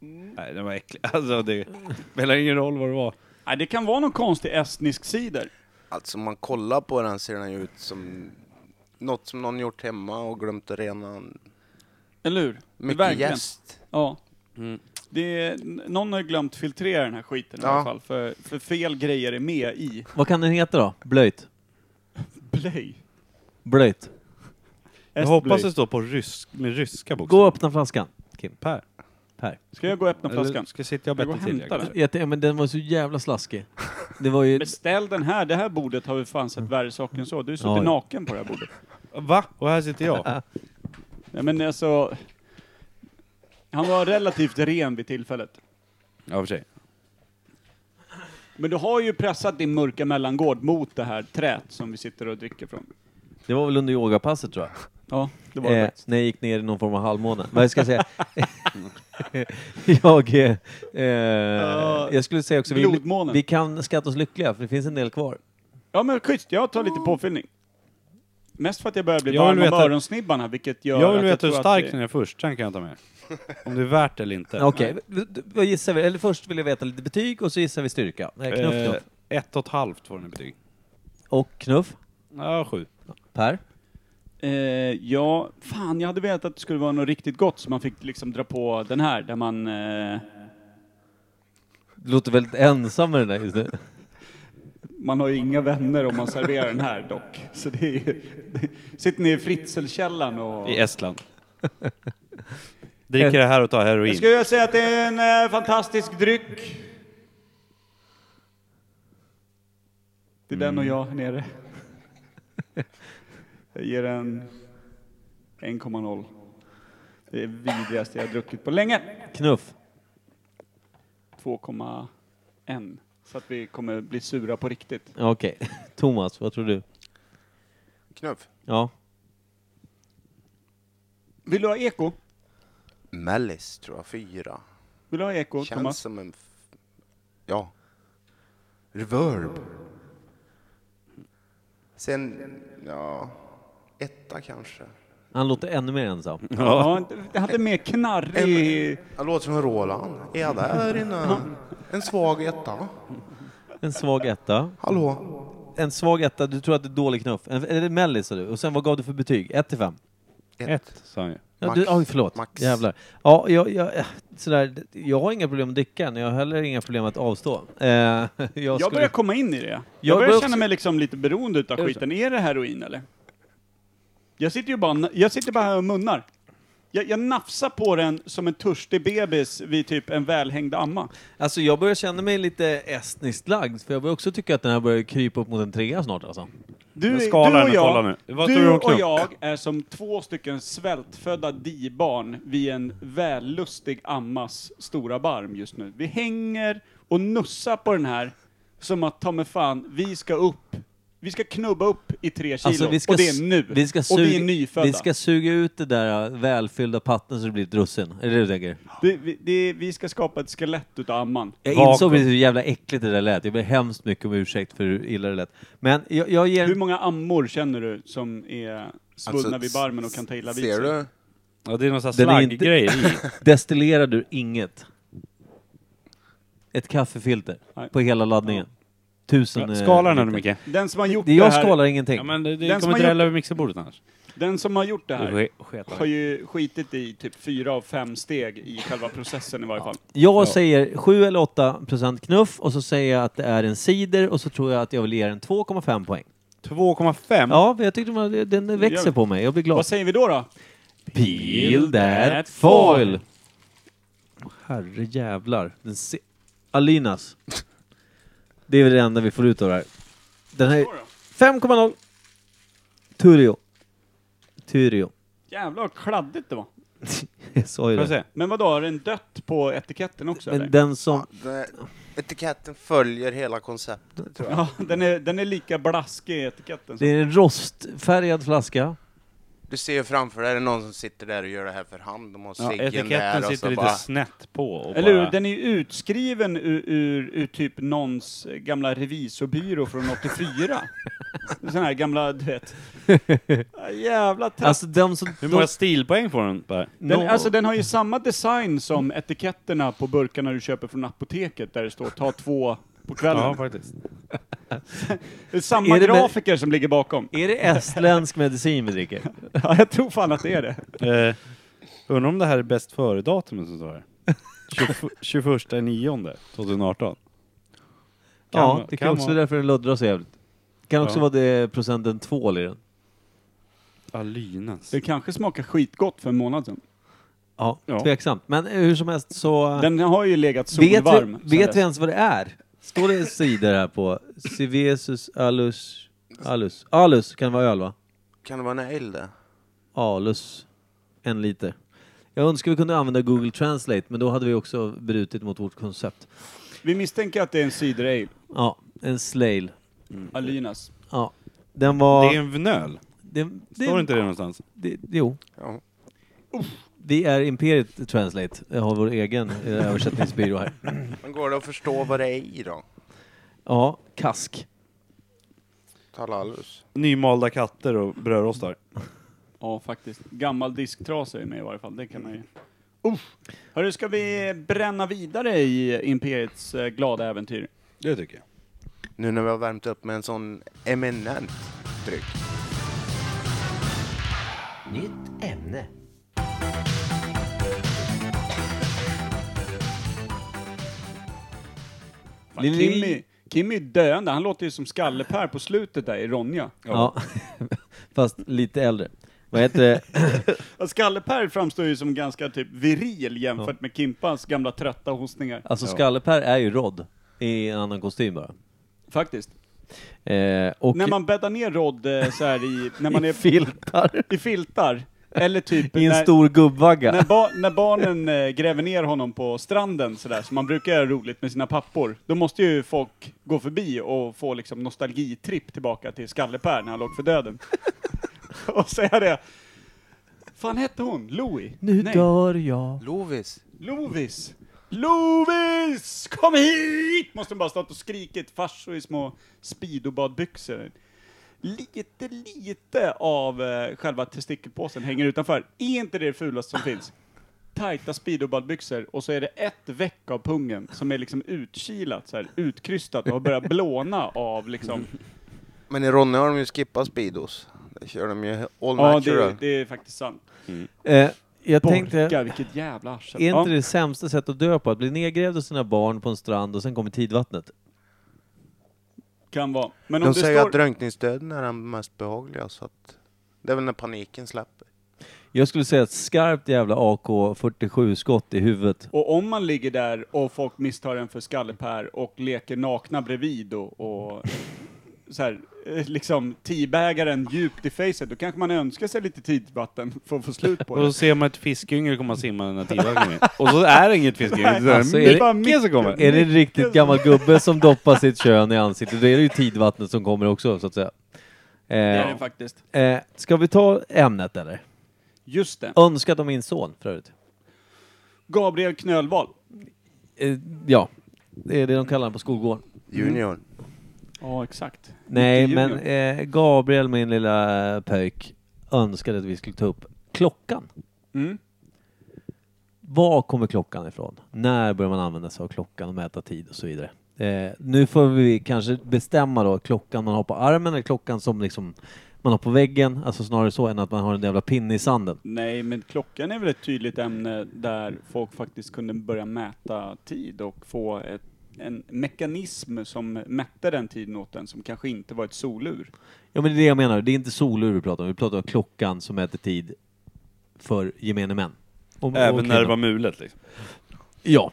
Nej, den var äcklig. [LAUGHS] Alltså det spelar ingen roll vad det var. Nej, det kan vara någon konstig estnisk cider. Alltså om man kollar på den ser den ju ut som något som någon gjort hemma och glömt att rena. Eller hur? Mycket Verkligen. jäst. Mm. Ja. Det är, n- någon har ju glömt filtrera den här skiten i Ja. alla fall, för, för fel grejer är med i. Vad kan den heta då? Blöjt? Blöj. Blöjt. Jag Estblöj. hoppas det står på rysk, med ryska Gå bokstäver. och öppna flaskan, Kim. Per. Per. Ska jag gå och öppna Eller flaskan? ska sitta jag Jag går bättre och till? hämtar Jag kanske. Jätte, ja, men den var så jävla slaskig. Det var [LAUGHS] ju... Beställ den här, det här bordet har vi fan sett värre saker än så. Du sitter Ja, ja. naken på det här bordet. Va? Och här sitter jag? Nej men alltså... Han var relativt ren vid tillfället. ja, för sig. Men du har ju pressat din mörka mellangård mot det här träet som vi sitter och dricker från. Det var väl under yogapasset tror jag. Ja, det var det Eh, faktiskt. när jag gick ner i någon form av halvmåne. Vad ska jag säga? [LAUGHS] jag, eh, eh, jag skulle säga också, vi, Blodmånen. vi kan skatta oss lyckliga för det finns en del kvar. Ja men schysst, jag tar lite påfyllning. Mest för att jag börjar bli Jag varm vill om veta- öronsnibbarna, vilket gör Jag vill att veta hur tror att stark det- den är först, sen kan jag ta med. Om det är värt det eller inte. Eh, Okej, v- vad gissar vi? Eller först vill jag veta lite betyg och så gissar vi styrka. Nej, knuff, Eh, knuff. ett och ett halvt får den i betyg. Och knuff. Ja, sju. Per? Eh, ja, fan jag hade vetat att det skulle vara något riktigt gott så man fick liksom dra på den här där man... Eh, Du låter väldigt ensam med den där just nu. Man har ju inga vänner om man serverar den här dock. Så det är ju, sitter ni i fritzelkällan och... I Estland. Dricker det här och tar heroin. Jag skulle säga att det är en eh, fantastisk dryck. Det är den och jag här nere. Jag ger den 1,0. Det är vidrigaste jag har druckit på länge. Knuff. 2,1. Så att vi kommer bli sura på riktigt. Okej. [LAUGHS] Thomas, vad tror du? Knuff. Ja. Vill du ha eko? Mellis tror jag, fyra. Vill du ha eko, Känns Thomas? som en... f- Ja. Reverb. Sen, ja... Etta kanske. Han låter ännu mer ensam. Ja, det hade mer knarrig... Han låter som Roland. Är jag där inne? En svag etta. En svag etta. Hallå? En svag etta, du tror att det är dålig knuff. En, eller mellis sa du. Och sen vad gav du för betyg? 1 till 5? Ett, sa han ju. Ja, Max. du, oj, förlåt. Max. Jävlar. Ja, jag, jag, eh, sådär, jag har inga problem att dricka, men jag har heller inga problem att avstå. Eh, [LAUGHS] jag Jag börjar komma in i det. Jag, Jag börjar börjar känna också- mig liksom lite beroende utav det skiten. Är det heroin eller? Jag sitter ju bara, jag sitter bara här och munnar. Jag, jag nafsar på den som en törstig bebis vid typ en välhängd amma. Alltså jag börjar känna mig lite estniskt lagd, för jag börjar också tycka att den här börjar krypa upp mot en trea snart alltså. Du, Jag är- skalar du den och och kollar jag, nu. Vad tror du du om och knuff? jag är som två stycken svältfödda dibarn vid en vällustig ammas stora barm just nu. Vi hänger och nussar på den här som att ta mig fan, vi ska upp. Vi ska knubba upp i tre kilo och det s- är nu. Alltså, Vi ska och vi suga- är nyfödda. Vi ska suga ut det där eh, välfyllda patten så det blir ett russin. Är det det du tänker? Det, vi, det, vi ska skapa ett skelett utav amman. Jag Vakuum. insåg precis hur jävla äckligt det där lät. Jag ber hemskt mycket om ursäkt för hur illa det lät. Men jag, jag ger... Hur många ammor känner du som är svullna Alltså, vid barmen och kan ta illa vid Ser sig? du? Ja, det är någon sån eh, här Den är inte- slagggrej [LAUGHS] [LAUGHS] i. Destillerar du inget? Ett kaffefilter Nej. på hela laddningen? Tusen... eh, Skala den nu liter. Micke. Den som har gjort Det det jag här, skalar ingenting. Ja, men det, det Den som kommer har drälla gjort- över mixerbordet annars. den som har gjort det här. Du sk- sketar. har ju skitit i typ fyra av fem steg i själva processen i varje fall. Jag säger 7 eller 8 procent knuff och så säger jag att det är en cider och så tror jag att jag vill ge den 2,5 poäng. 2,5. Ja, jag tyckte man, den växer på mig. Jag blir glad. Vad säger vi då då? Peel that foil! Herre jävlar. Den se- Alinas. Det är väl det enda vi får ut av det här. Den här 5,0. Turio. Turio. [LAUGHS] Jävlar vad kladdigt det var. Jag sa ju Får jag det. se? Men vadå, har den dött på etiketten också eller? Men den som... Det, etiketten följer hela konceptet tror jag. Ja, den är, den är lika blaskig i etiketten. Det som- är en rostfärgad flaska. Du ser ju framför dig, är det någon som sitter där och gör det här för hand? De har Ja, ciggen etiketten där och sitter så lite bara... snett på. Och Eller hur? bara... Den är ju utskriven ur, ur, ur typ någons gamla revisorbyrå från 84. [LAUGHS] Sån här gamla, du vet. Ja, Jävla tratt. Alltså den som... Hur många stilpoäng får den? Bara? Den, No. Alltså den har ju samma design som etiketterna på burkarna du köper från apoteket där det står ta två på kvällen. Ja, faktiskt. Det är samma Är det med- grafiker som ligger bakom. Är det estländsk medicin vi dricker? Ja, jag tror fan att det är det. Eh, undrar om det här är bäst före-datumet som står här? 21 9 2018. Kan- ja, det kan, kan också vara. vara därför den luddrar så jävligt. Kan också Ja. vara det procenten tvål i den. Alynas. Det kanske smakar skitgott för en månad sedan. Ja, Ja. tveksamt. Men hur som helst så... Den har ju legat Vet, solvarm. sedan vi, vet dess. vi ens vad det är? Står det sidor här på? Civesus alus... Alus. Alus kan det vara öl va? Kan det vara en ale det? Alus. En liter. Jag önskar vi kunde använda Google Translate, men då hade vi också brutit mot vårt koncept. vi misstänker att det är en cider ale, Ja, en slail. Alinas. Ja. Den var... Det är en vnöl. det, Står inte det någonstans? det- jo. Ja. Vi är Imperiet Translate. Jag har vår egen eh, översättningsbyrå här. Men går det att förstå vad det är i då? Ja, kask. Talalus. Nymalda katter och brödrostar. Ja, faktiskt. Gammal disktrasa är med i varje fall, det kan man ju. Uff. Hörru, ska vi bränna vidare i Imperiets eh, glada äventyr? Det tycker jag. Nu när vi har värmt upp med en sån eminent dryck. Nytt ämne. Fan, Lili- Kimmy, Kimmy är döende, han låter ju som Skalle-Per på slutet där i Ronja. Ja. [LAUGHS] Fast lite äldre. Vad heter det? Ja, Skalle-Per framstår ju som ganska typ viril jämfört med Kimpans gamla trötta hostningar. Alltså Skalle-Per är ju Rod i en annan kostym bara. Faktiskt. Eh, och När man bäddar ner Rod eh, så [LAUGHS] här i, när man i är filtar i filtar, eller typ i en när, stor gubbvagga. när, ba, när barnen eh, gräver ner honom på stranden sådär, som man brukar göra roligt med sina pappor, då måste ju folk gå förbi och få liksom nostalgitripp tillbaka till Skalle-Per när han låg [LAUGHS] för döden. [LAUGHS] och säga det. Fan hette hon? Louie? nu Nej. dör jag. Lovis. Lovis! Lovis! Kom hit! Måste de bara stått och skrikit. Farsor i små speedobadbyxor. lite, lite av eh, själva testikelpåsen hänger utanför. Är inte det det fulaste som finns? Tajta speedoballbyxor och så är det ett veck av pungen som är liksom utkilat, så här, utkrystat och har börjat blåna av liksom... Men i Ronny har de ju skippat Speedos. Där kör de ju all Ja, det, natural. det är faktiskt sant. Eh, jag tänkte... Borka, vilket jävla arsel. Är inte Ja. det sämsta sättet att dö på? Att bli nedgrävd av sina barn på en strand och sen kommer tidvattnet? Kan vara. Men om De det säger står... att drunkningsdöden är den mest behagliga, så att... Det är väl när paniken släpper. Jag skulle säga ett skarpt jävla AK47-skott i huvudet. Och om man ligger där och folk misstar en för skallepär och leker nakna bredvid och, och [LAUGHS] så här, eh, liksom teabagaren djupt i facet, då kanske man önskar sig lite tidvatten för att få slut [LAUGHS] på Och så det. ser man ett fiskyngel komma simmande när tidvattnet kommer in. Och så är det inget fiskyngel, så är Alltså, är det det- bara Micke som kommer. Är det en riktigt gammal gubbe som doppar sitt kön i ansiktet, då är det ju tidvattnet som kommer också, så att säga. Det är det Eh, faktiskt. eh, ska vi ta ämnet eller? Just det. Önskat om min son, för övrigt. Gabriel Knölvall. Eh, ja, det är det de kallar honom på skolgården. Junior. Ja, exakt. Nej, Junior. men eh, Gabriel, min lilla pöjk, önskade att vi skulle ta upp klockan. Mm. Var kommer klockan ifrån? När börjar man använda sig av klockan och mäta tid och så vidare? Eh, nu får vi kanske bestämma då klockan man har på armen eller klockan som liksom man har på väggen, alltså snarare så än att man har en jävla pinne i sanden. Nej, men klockan är väl ett tydligt ämne där folk faktiskt kunde börja mäta tid och få ett, en mekanism som mätte den tiden åt en som kanske inte var ett solur. Ja men det är det jag menar, det är inte solur vi pratar om, vi pratar om klockan som mäter tid för gemene män. Och- och Även när det kvinnor. var mulet liksom. Ja.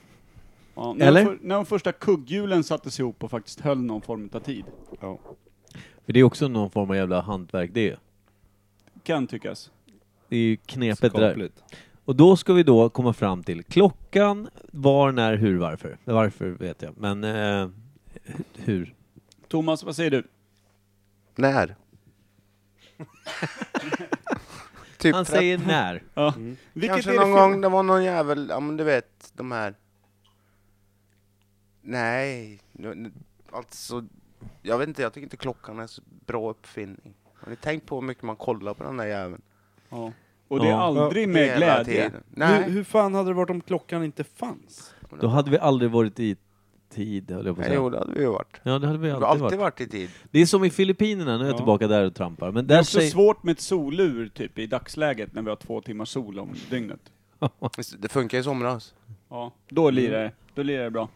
Ja, när, Eller? De för, när de första kugghjulen sattes ihop och faktiskt höll någon form av tid. För det är också någon form av jävla hantverk det är ju. Kan tyckas. Det är ju knepet det där. Skapligt. Och då ska vi då komma fram till klockan, var, när, hur, varför. Varför vet jag, men eh, hur. Thomas, vad säger du? När? typ Han tre- säger när. Ja. Vilket Mm. Kanske är det någon fel- gång det var någon jävel, ja men du vet, de här... Nej, nu- nu- alltså... Jag vet inte, jag tycker inte klockan är så bra uppfinning. Har ni tänkt på hur mycket man kollar på den där jäveln? Ja. Och det är Ja. aldrig med Hela glädje. tiden. Hur, Nej, hur fan hade det varit om klockan inte fanns? Då hade vi aldrig varit i tid, höll jag på att Nej, säga. jo det hade vi ju varit. Ja, det hade vi Vi har alltid, alltid varit. varit i tid. Det är som i Filippinerna, nu är jag Ja. tillbaka där och trampar. Men Det är där också säger... svårt med ett solur typ i dagsläget när vi har två timmar sol om dygnet. Det funkar i somras. Ja, då Mm. lirar det. Då lirar det bra.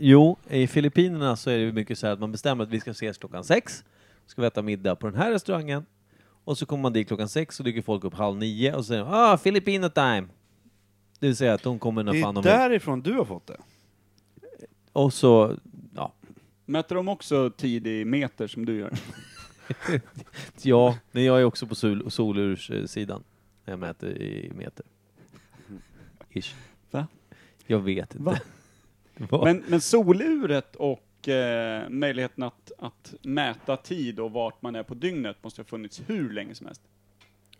Jo, i Filippinerna så är det ju mycket så här att man bestämmer att vi ska ses klockan sex, ska vi äta middag på den här restaurangen, och så kommer man dit klockan sex och dyker folk upp halv nio och säger ah, Filipino time! Det vill säga att de kommer när Det fan är de vill. därifrån du har fått det. Och så, ja, Mäter de också tid i meter som du gör? ja men jag är också på sol, solurssidan, när jag mäter i meter. Mm. Ish. Va? Jag vet inte. Va? [LAUGHS] Vad? Men, men soluret och eh, möjligheten att, att mäta tid och vart man är på dygnet måste ha funnits hur länge som helst.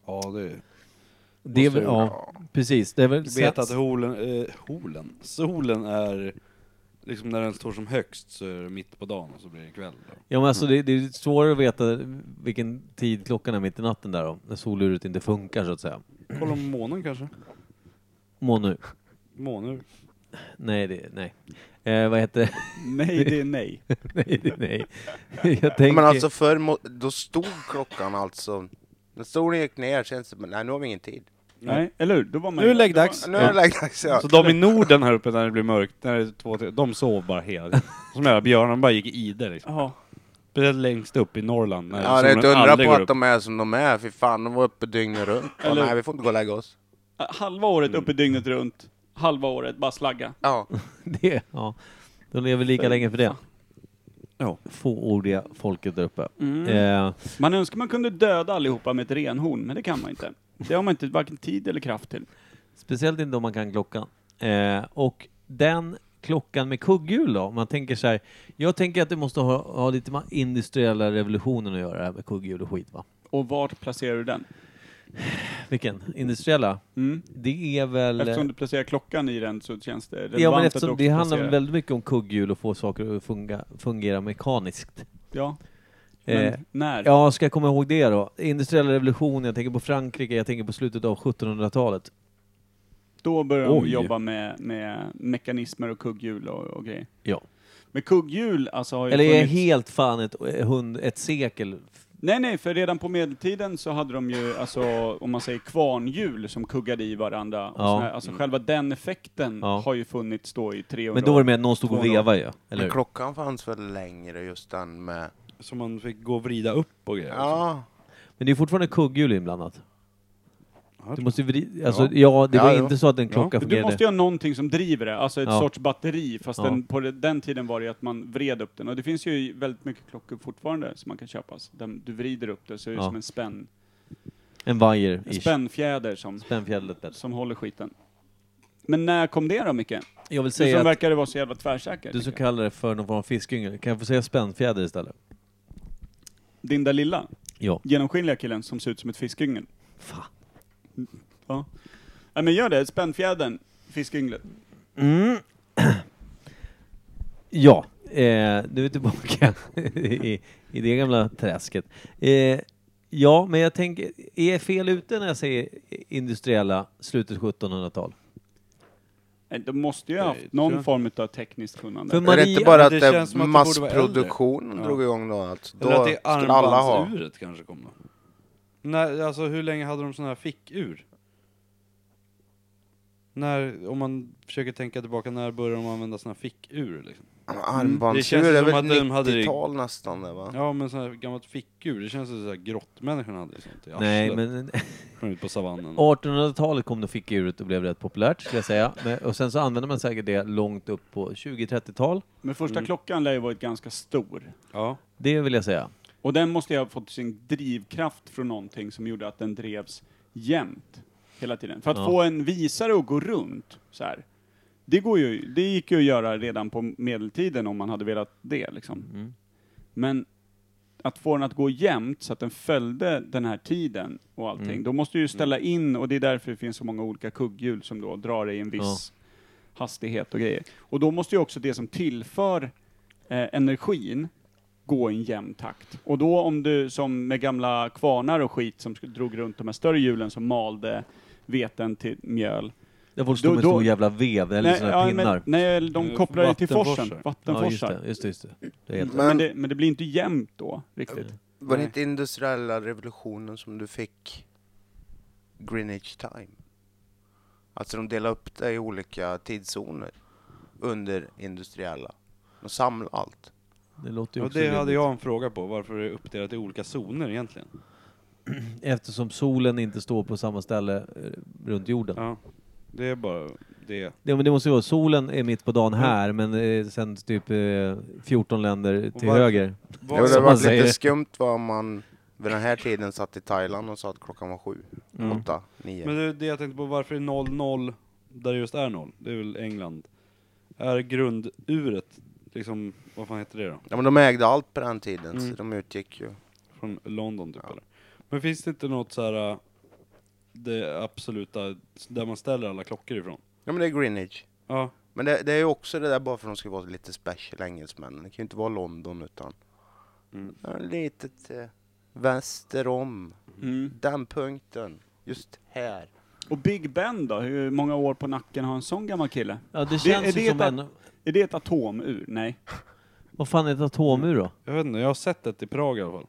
Ja, det är... det är väl, ja, precis. Det är väl vet att holen, eh, holen, solen är, liksom när den står som högst så är det mitt på dagen och så blir det kväll. Då. Ja men Mm. alltså det, det är svårare att veta vilken tid klockan är mitt i natten där då, när soluret inte funkar så att säga. Kolla om månen kanske? Må nu. Månur. Nej, det, nej. Eh, vad heter det? [LAUGHS] Nej, det är [LAUGHS] nej. nej, det, nej. [LAUGHS] Jag tänker... Men alltså förr, må- då stod klockan alltså... När solen gick ner kändes det, men nej nu har vi ingen tid. Nej, eller hur? Då var man Nu är det läggdags. Nu är det läggdags, ja. Så de i Norden här uppe när det blir mörkt, när det är två, tre, de sov bara hela tiden. Som jävla björnar, de bara gick i ide liksom. Ja, Speciellt längst upp i Norrland när Ja, det är inte solen undra aldrig på går att upp. de är som de är, fy fan, de var uppe dygnet runt. Ja, Eller- nej, vi får inte gå och lägga oss. halva året uppe dygnet runt, halva året bara slagga. Ja. [LAUGHS] det, ja. De lever Eh, lika länge för det. Ja. Fåordiga folket där uppe. Mm. Eh, Man önskar man kunde döda allihopa med ett renhorn, men det kan man inte. Det har man inte varken tid eller kraft till. speciellt inte om man kan klockan. Eh, och den klockan med kugghjul då, om man tänker så här. Jag tänker att det måste ha, ha lite med industriella revolutionen att göra, det här med kugghjul och skit va? Och vart placerar du den? Vilken? Industriella? Mm. Det är väl... Eftersom du placerar klockan i den så känns det relevant Ja, men att du eftersom också det handlar placerar- väldigt mycket om kugghjul och få saker att funga, fungera mekaniskt. Ja. Men Eh, när? Ja, ska jag komma ihåg det då? Industriella revolutionen, jag tänker på Frankrike, jag tänker på slutet av 1700-talet. Då började de Oj. jobba med, med mekanismer och kugghjul och, och grejer. Ja. Men kugghjul alltså har ju Eller är jag funnits... helt fan ett, eh, hund, ett sekel? Nej, nej, för redan på medeltiden så hade de ju, alltså, om man säger kvarnhjul som kuggade i varandra. Och Ja. såna här, alltså själva den effekten Ja. har ju funnits då i 300 Men då var det år. med att någon stod och vevade ju. Eller Men hur? klockan fanns väl längre just den med... Som man fick gå och vrida upp och grejer. Ja, Men det är fortfarande kugghjul inblandat. Du måste ju vrida, alltså, ja. Ja. det Ja, var jo. inte så att en Ja. klocka Du fungerade. måste ju ha någonting som driver det, alltså ett Ja. sorts batteri, fast Ja. den, på de- den tiden var det ju att man vred upp den. Och det finns ju väldigt mycket klockor fortfarande som man kan köpa. Så den- Du vrider upp det, så är det Ja. som en, spänn, En vajer en spännfjäder som, Spännfjädret bättre. som håller skiten. Men när kom det då, Micke? Jag vill Du säga som att verkade vara så jävla tvärsäker. du som Micke. kallar det för någon form av fiskyngel, kan jag få säga spännfjäder istället? Din där lilla, Ja. genomskinliga killen som ser ut som ett fiskyngel. Fan. Ja. Nej men gör det, spännfjädern, fiskynglet. Mm. [CLEARS THROAT] Ja, eh, nu är vi tillbaka [LAUGHS] i, i det gamla träsket. Eh, ja, men jag tänker, är jag fel ute när jag säger industriella slutet 1700-tal? Nej, De måste ju ha Nej, haft tror någon jag. form av tekniskt kunnämande. För är Maria, det inte bara att det det känns som att det borde vara massproduktionen äldre. drog igång då? Alltså, då Eller att det är skulle alla ha. armbandsuret kanske kom då. När, alltså hur länge hade de sådana här fickur? När, om man försöker tänka tillbaka, när började de använda sådana här fickur? Liksom? det Mm, Armbandsur känns är som väl att de hade det- 90-tal nästan det va? Ja men sådana här gammalt fickur, det känns som att grottmänniskorna hade sånt i Nej, arslet. men [LAUGHS] Sprang ut på savannen. 1800-talet kom då fickuret och blev rätt populärt, ska jag säga. Men, och sen så använde man säkert det långt upp på 20-30-tal. Men första Mm. klockan lär ju varit ganska stor. Ja. Det vill jag säga. Och den måste ju ha fått sin drivkraft från någonting som gjorde att den drevs jämnt hela tiden. För att Ja. få en visare att gå runt så här. Det, går ju, det gick ju att göra redan på medeltiden om man hade velat det. Liksom. Mm. Men att få den att gå jämnt så att den följde den här tiden och allting, Mm. då måste du ju ställa in och det är därför det finns så många olika kugghjul som då drar i en viss hastighet och grejer. Och då måste ju också det som tillför eh, energin gå i en jämn takt. Och då om du, som med gamla kvarnar och skit som sk- drog runt de här större hjulen som malde veten till mjöl. Där folk stod Då- med en stor då- jävla vev, eller sådana här ja, pinnar. men, nej, de Eh, kopplar det till forsen, vattenforsar. ja, vattenforsar. just det, just det. Just det. det är helt Men- Men, det, men det blir inte jämnt då, riktigt. Var det Nej. inte industriella revolutionen som du fick Greenwich time? Alltså de delade upp det i olika tidszoner under industriella. De samlade allt. Det låter ju Och också det hade rimligt. jag en fråga på, varför det är uppdelat i olika zoner egentligen? Eftersom solen inte står på samma ställe eh, runt jorden. Ja. Det är bara det. Ja, men det måste ju vara, solen är mitt på dagen här, men eh, sen typ eh, 14 länder till varför- höger. Det hade som varit man säger. lite skumt vad man vid den här tiden satt i Thailand och sa att klockan var sju, Mm. åtta, nio. Men det, det jag tänkte på, varför är 00 där det just är 0? Det är väl England. Är grunduret, liksom, vad fan heter det då? Ja, men de ägde allt på den tiden, Mm. så de utgick ju. Från London typ eller? Men finns det inte något så här äh, det absoluta, där man ställer alla klockor ifrån? Ja men det är Greenwich. Ja. Men det, det är ju också det där bara för att de ska vara lite special, engelsmännen. Det kan ju inte vara London utan Mm. ja, lite till väster om. Mm. Den punkten. Just här. Och Big Ben då? Hur många år på nacken har en sån gammal kille? Ja, det Det- är känns det ju som ett- en... Är det ett atomur? Nej. Vad fan är ett atomur då? Jag vet inte, jag har sett det i Prag i alla fall.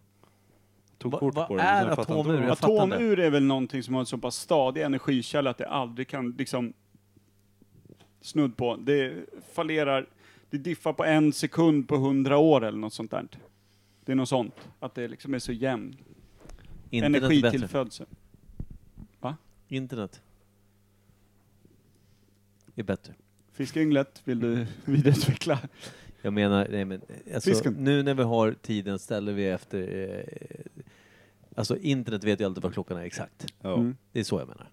Tog Va- kort vad på det. är men sen fattar jag inte atomur? vad det var. Jag fattar inte. Atomur är väl någonting som har en så pass stadig energikälla att det aldrig kan liksom snudd på. Det fallerar, det diffar på en sekund på hundra år eller något sånt där. Det är något sånt. Att det liksom är så jämn Internet är bättre. energitillfödsel. Internet. är bättre. Fiskynglet vill du [LAUGHS] vidareutveckla? Jag menar, nej men alltså, Fisken. nu när vi har tiden ställer vi efter... Eh, alltså internet vet ju alltid vad klockan är exakt. Ja. Mm. Det är så jag menar.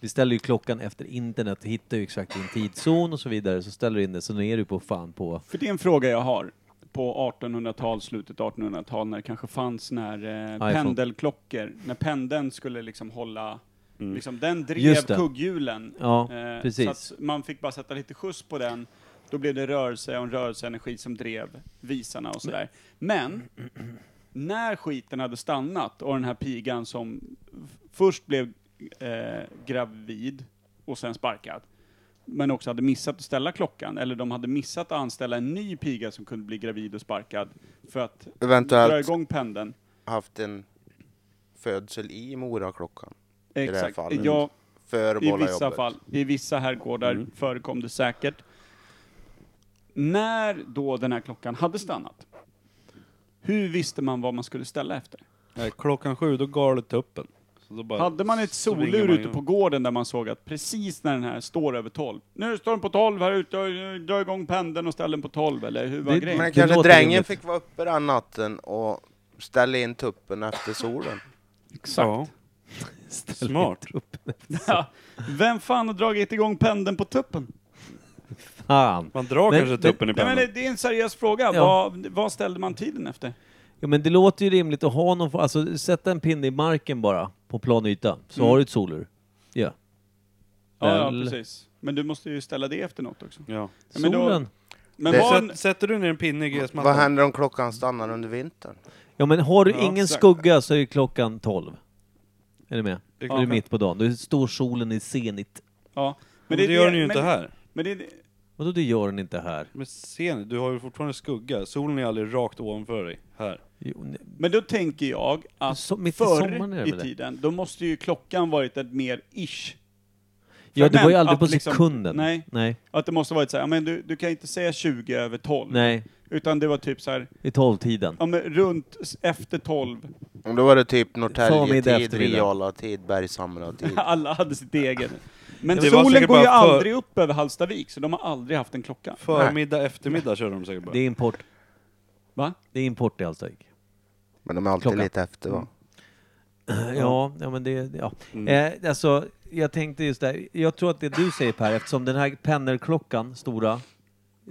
Vi ställer ju klockan efter internet, hittar ju exakt din tidszon och så vidare, så ställer du in det, så nu är du på fan på... För det är en fråga jag har. På 1800-tal, slutet 1800-tal, när det kanske fanns när eh, iPhone. pendelklockor, när pendeln skulle liksom hålla, liksom, den drev Mm. Just det. kugghjulen. Ja, eh, Så precis. att man fick bara sätta lite skjuts på den, då blev det rörelse och en rörelseenergi som drev visarna och sådär. Men, när skiten hade stannat och den här pigan som f- först blev eh, gravid och sen sparkad, men också hade missat att ställa klockan, eller de hade missat att anställa en ny piga som kunde bli gravid och sparkad för att dra Eventuellt igång pendeln. haft en födsel i Moraklockan. det här Exakt. fallet. ja, För i båda vissa jobbet. fall. I vissa herrgårdar förekom det säkert. När då den här klockan hade stannat, hur visste man vad man skulle ställa efter? Nej, klockan sju, då galet tuppen. Så då bara Hade man ett så ringer solur man ute ju. på gården där man såg att precis när den här står över 12, nu står den på 12 här ute, och eh, dra igång pendeln och ställ den på 12 eller hur var Det- grejen? Men Det kanske låter drängen rimligt. fick vara uppe den natten och ställa in tuppen efter solen. Exakt. Smart. [LAUGHS] Ja. Vem fan har dragit igång pendeln på tuppen? Fan. Man drar Men- kanske men- tuppen i Nej, pennan. men det- det är en seriös fråga. Ja. Vad, vad ställde man tiden efter? Ja, men det låter ju rimligt att ha någon, alltså sätta en pinne i marken bara, på plan yta, så Mm. har du ett solur. Ja. Ja, ja, Väl- precis. Men du måste ju ställa det efter något också. ja. Ja, men då- Solen. Men Det- var en, Sätt- Sätter du ner en pinne i Vad gräsmattan? händer om klockan stannar under vintern? Ja men har du Ja, ingen exakt. skugga så är det klockan 12. Är du med? Det är Då är du klockan. mitt på dagen. Då står solen i zenit. ja. Men det gör den ju inte men, här. Men det, är- Vadå det gör den inte här? Men ser ni, du har ju fortfarande skugga. Solen är aldrig rakt ovanför dig. Här. Jo, nej. men då tänker jag att So- mitt i sommaren är förr det i väl det? tiden, då måste ju klockan varit ett mer ish. ja det var ju men aldrig att på liksom- sekunden. nej. Nej. Att det måste varit så här, ja, men du, du kan inte säga 20 över 12. Nej. Utan det var typ så här, I tolvtiden. ja, men runt s- efter 12. Om då var det typ Förmiddag, Norrtäljetid, eftermiddag. Riala-tid, [LAUGHS] Bergshamra-tid. [LAUGHS] Alla hade sitt eget. Men Det var solen säkert går ju bara för- aldrig upp över Hallstavik, så de har aldrig haft en klocka. Förmiddag, eftermiddag kör de säkert bara. Det är import. Va? Det är import i Hallstavik. Men de är alltid Klockan. lite efter va? Ja, ja men det... Ja. Mm. Eh, alltså, jag tänkte just där. Jag tror att det du säger Per, eftersom den här pennerklockan, stora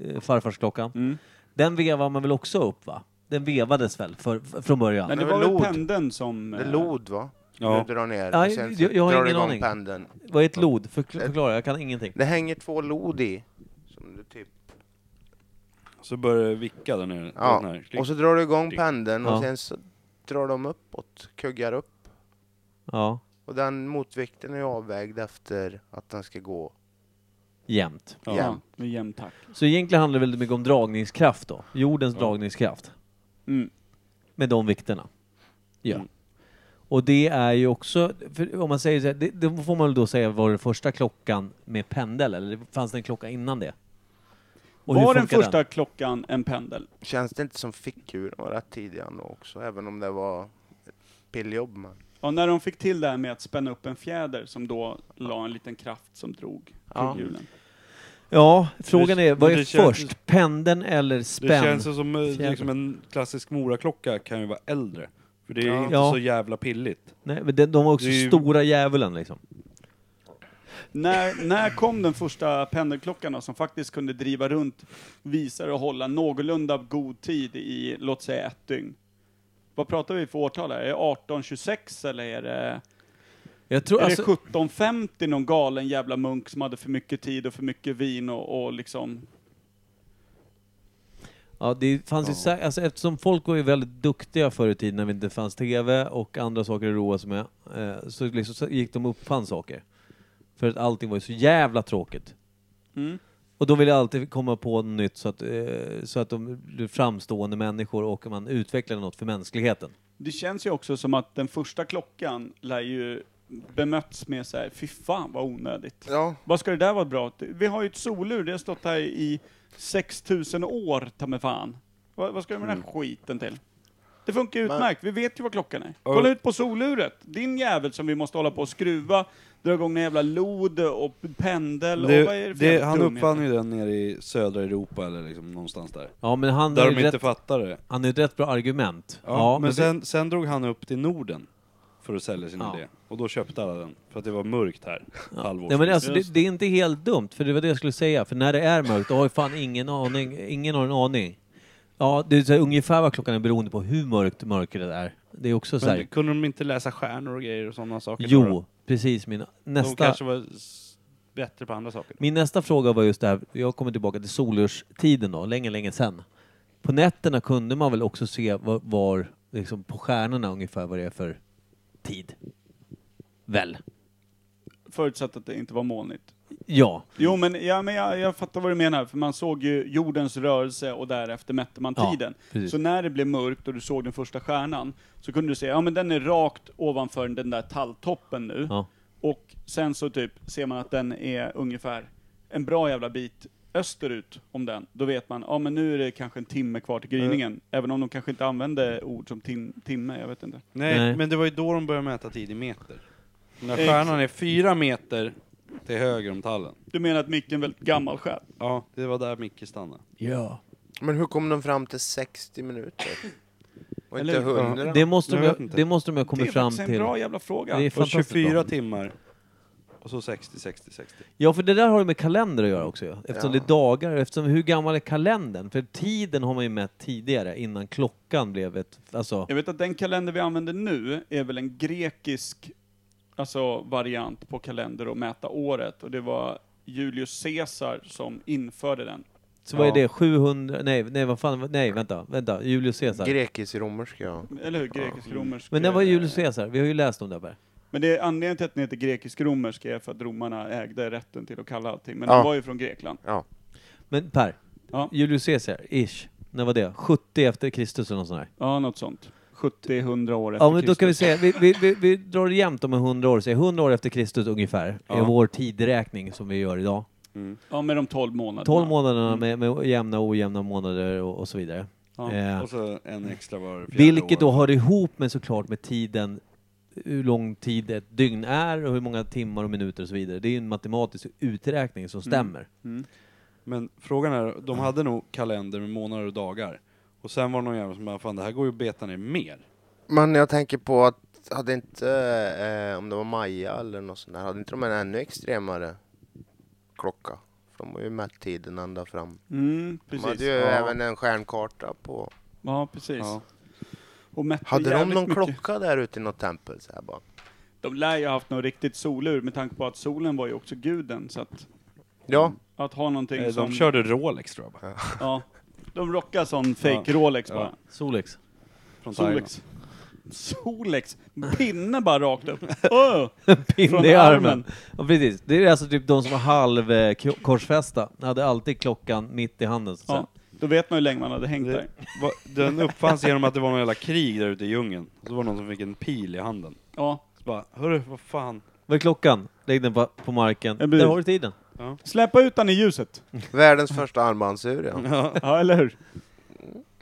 eh, farfarsklockan, Mm. den vevar man väl också upp va? Den vevades väl för, för, från början? Men Det det var var väl lod. pendeln som... eh, Det är lod va? Ja. Du drar ner Ja, och sen så jag- jag har drar du ingen igång aning. pendeln. Vad är ett lod? Förkla- Förklara, jag kan ingenting. Det hänger två lod i. Som du typ, Så börjar det vicka där nere. Den ja. här. Klick. Och så drar du igång Klick. pendeln och Ja. sen så drar de uppåt, kuggar upp. Ja, Och den motvikten är avvägd efter att den ska gå. jämnt. Ja, jämnt. med jämn takt. Så egentligen handlar det väldigt mycket om dragningskraft då. Jordens dragningskraft. Mm. Med de vikterna. Ja. Mm. Och det är ju också, för om man säger så här, det, det får man väl då säga var den första klockan med pendel, eller fanns det en klocka innan det? Och hur var den funkar första klockan en pendel? Känns det inte som fickur var rätt tidig ändå också, även om det var ett pilljobb men. Ja, när de fick till det här med att spänna upp en fjäder som då la en liten kraft som drog Ja. hjulen. Ja, frågan är, vad Men är det känns- först? Pendeln eller Det spänn? känns ju som eh, Fjäder. liksom en klassisk moraklocka kan ju vara äldre. För det är Ja. inte Ja. så jävla pilligt. Nej, men de, de var också Det är ju- stora djävulen liksom. När, när kom den första pendelklockan då, som faktiskt kunde driva runt visare och hålla någorlunda god tid i, låt säga, ett dygn? Vad pratar vi för årtal här? Är det 1826 eller är det, Jag tror är det alltså, 1750 någon galen jävla munk som hade för mycket tid och för mycket vin och, och liksom... Ja, det fanns ju sä- alltså, eftersom folk var ju väldigt duktiga förr i tiden när det inte fanns TV och andra saker att roa sig med, eh, så liksom så gick de och uppfann saker. För att allting var ju så jävla tråkigt. Mm. Och då ville jag alltid komma på något nytt så att, eh, så att de blev framstående människor och man utvecklade något för mänskligheten. Det känns ju också som att den första klockan lär ju bemötts med så här, fy fan vad onödigt. Ja, Vad ska det där vara bra till? Vi har ju ett solur, det har stått här i 6000 år, ta mig fan. Vad, vad ska du med den här skiten till? Det funkar ju Men- utmärkt, vi vet ju vad klockan är. Kolla ut på soluret! Din jävel som vi måste hålla på och skruva, dra igång en jävla lod och pendel och vad är det Det, för det, jävla han dumhet? uppfann ju den nere i södra Europa eller liksom någonstans där. Ja, men han Där är de ju inte rätt, fattar det. han är ett rätt bra argument. Ja, men, vi- sen, sen drog han upp till Norden för att sälja sin Ja. idé. Och då köpte alla den, för att det var mörkt här. Halvårs. Nej, men alltså, det, det är inte helt dumt, för det var det jag skulle säga. För när det är mörkt, då har ju fan ingen aning. Ingen har en aning. Ja, det är så här, ungefär vad klockan är beroende på hur mörkt mörkret är. Det är också så men här. kunde de inte läsa stjärnor och grejer och sådana saker? Jo, precis min De nästa, kanske var s- bättre på andra saker. min nästa fråga var just det här. Jag kommer tillbaka till solurstiden då, länge, länge sedan. På nätterna kunde man väl också se var, var liksom på stjärnorna ungefär vad det är för tid. Väl? Förutsatt att det inte var molnigt. Ja. Jo, men, ja, men jag, jag fattar vad du menar, för man såg ju jordens rörelse och därefter mätte man Ja, tiden. precis. Så när det blev mörkt och du såg den första stjärnan, så kunde du se, ja men den är rakt ovanför den där talltoppen nu. Ja. Och sen så typ ser man att den är ungefär en bra jävla bit österut om den. Då vet man, ja men nu är det kanske en timme kvar till gryningen. Även om de kanske inte använde ord som tim timme, jag vet inte. Nej, Nej. men det var ju då de började mäta tid i meter. När Ex- stjärnan är fyra meter till höger om tallen. Du menar att micken är en väldigt gammal själ? Ja, det var där Micke stannade. Ja. Men hur kom de fram till 60 minuter? Och inte Eller hur? 100? Det måste Jag de, vet inte. det måste de ha kommit det är fram faktiskt en till. bra jävla fråga. Det är Det var fantastiskt 24 bra. timmar. Och så 60, 60, 60. Ja, för det där har ju med kalender att göra också ju. Eftersom Ja. det är dagar, och eftersom hur gammal är kalendern? För tiden har man ju mätt tidigare, innan klockan blev ett... Alltså, Jag vet att den kalender vi använder nu är väl en grekisk alltså, variant på kalender och mäta året. Och det var Julius Caesar som införde den. så vad är Ja. det? 700... Nej, nej, vad fan, nej, vänta, vänta. Julius Caesar. Grekisk-romerska, ja. Eller hur? Grekisk-romersk. eh, Men när var Julius Caesar? Vi har ju läst om det här. Per. Men det är anledningen till att den heter grekisk-romersk är för att romarna ägde rätten till att kalla allting. Men Ja. den var ju från Grekland. ja. Men Per, Ja. Julius Caesar, ish. När var det? 70 efter Kristus eller något sånt där? Ja, något sånt. 70-100 år efter Ja, men då kan vi Kristus. säga, vi, vi, vi, vi drar det jämnt om 100 år, säg 100 år efter Kristus ungefär, är Ja. vår tideräkning som vi gör idag. Mm. Ja, med de 12 månaderna. 12 månaderna med, med jämna och ojämna månader och, och så vidare. Ja, Eh, Och så en extra var fjärde vilket då år. hör ihop med såklart med tiden, hur lång tid ett dygn är och hur många timmar och minuter och så vidare. Det är ju en matematisk uträkning Mm. som stämmer. Men frågan är, de hade nog kalender med månader och dagar. Och sen var det någon jävel som bara, fan det här går ju att beta ner mer. Men jag tänker på att, hade inte, eh, om det var Maja eller något sånt där, hade inte de en ännu extremare klocka? För de har ju mätt tiden ända fram. Mm, De precis. hade ju ja. även en stjärnkarta på. ja, precis. Ja. Och mätte Hade de jävligt någon mycket. klocka där ute i något tempel? Så här bara. De lär ju ha haft något riktigt solur med tanke på att solen var ju också guden så att, Ja, att ha någonting Eh, De som... körde Rolex tror jag bara. Ja, de rockar sån fake Rolex bara. Solex. Från Thailand. Solex. Solex! Pinne bara rakt upp. Åh! Från Pinne i armen. armen. Ja, precis. Det är alltså typ de som var halv eh, k- korsfästa, hade alltid klockan mitt i handen. Så att Ja, då vet man hur länge man hade hängt där. Det, va, den uppfanns genom att det var någon jävla krig där ute i djungeln. Så var det någon som fick en pil i handen. Ja. Så bara, hörru vad fan. Vad är klockan? Lägg den på, på marken. Ja, precis. Där har du tiden. Släppa ut den i ljuset. världens första armbandsur ja. Ja, eller hur?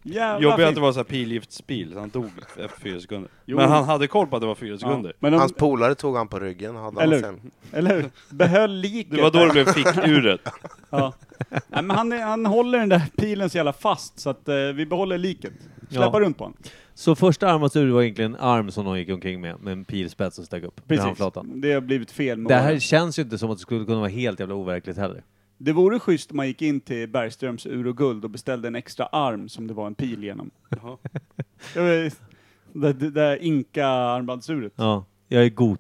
Jävla Jobbigt att fint. det var så här pilgiftspil, så han dog efter fyra sekunder. Jo. Men han hade koll på att det var fyra Ja. sekunder. Men om, Hans polare tog han på ryggen, hade Eller han hur? sen. eller hur? Behöll liket. Det var då där. det [LAUGHS] blev fickuret. Ja. Nej, men han, är- han håller den där pilen så jävla fast så att eh, vi behåller liket. Släppa Ja. runt på honom. Så första armbandsur var egentligen en arm som någon gick omkring med, med en pilspets som stack upp. Med Precis. handflatan. Det har blivit fel med Det åren. här känns ju inte som att det skulle kunna vara helt jävla overkligt heller. Det vore schysst om man gick in till Bergströms Ur och Guld och beställde en extra arm som det var en pil genom. Jag vet, Det det där inka-armbandsuret. Ja, jag är god.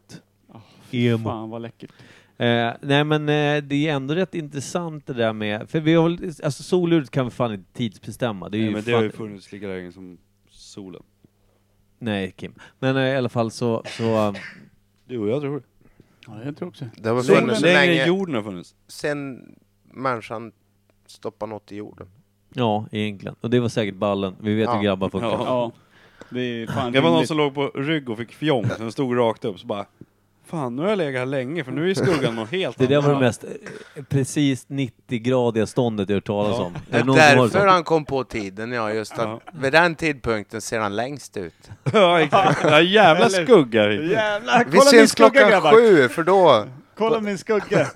Emo. Fan vad läckert. Eh, nej men eh, det är ändå rätt intressant det där med, för vi har väl, alltså soluret kan vi fan inte tidsbestämma. Det är Nej, ju men det fan, har ju funnits lika länge som solen. Nej Kim. Men eh, i alla fall så, så eh, Du och jag tror det. Ja, jag tror också Det var Längre, funnits så längre än länge jorden har funnits. sen människan stoppade något i jorden. ja egentligen. Och det var säkert ballen, vi vet Ja. hur grabbar funkar. Ja. Ja. Det är fan Det var någon rimligt. som låg på rygg och fick fjong, sen stod rakt upp så bara Fan, nu har jag legat här länge för nu är ju skuggan något helt Det där var det annat." mest eh, precis 90-gradiga ståndet jag hört talas om. Det är någon som har det så? därför han kom på tiden, ja. Just att vid den tidpunkten ser han längst ut. [LAUGHS] Ja, exakt. Det är jävla Eller- skugga i. Jävlar, Vi kolla min ses skugga klockan grabbar! sju, för då... Kolla min skugga!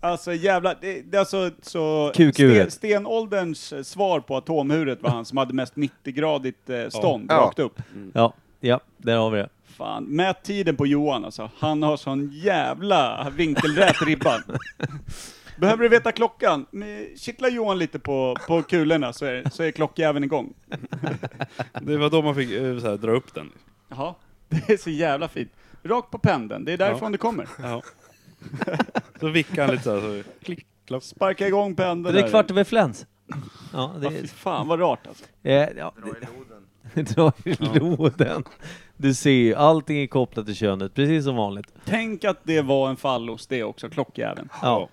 Alltså jävlar, det, det är alltså så... Kukuret. stenålderns eh, svar på atomhuret var han som hade mest 90-gradigt eh, stånd Ja. rakt upp. Ja, ja, där har vi det. Fan, mät tiden på Johan alltså. Han har sån jävla vinkelrät ribba. Behöver du veta klockan? Men Kittla Johan lite på, på kulorna så är, så är klockjäveln igång. Det var då man fick eh, så här, dra upp den. Jaha, det är så jävla fint. Rakt på pendeln, det är därifrån det kommer. Ja. Så vickade han lite så här, så klick, klapp. Sparka igång pendeln Det är där. [LAUGHS] kvart över fläns. Ja, det Ja, är, fy fan vad rart alltså. eh, ja, det, [LAUGHS] dra i loden. Du ser ju, allting är kopplat till könet, precis som vanligt. Tänk att det var en fallos det också, klockjäveln. Ja.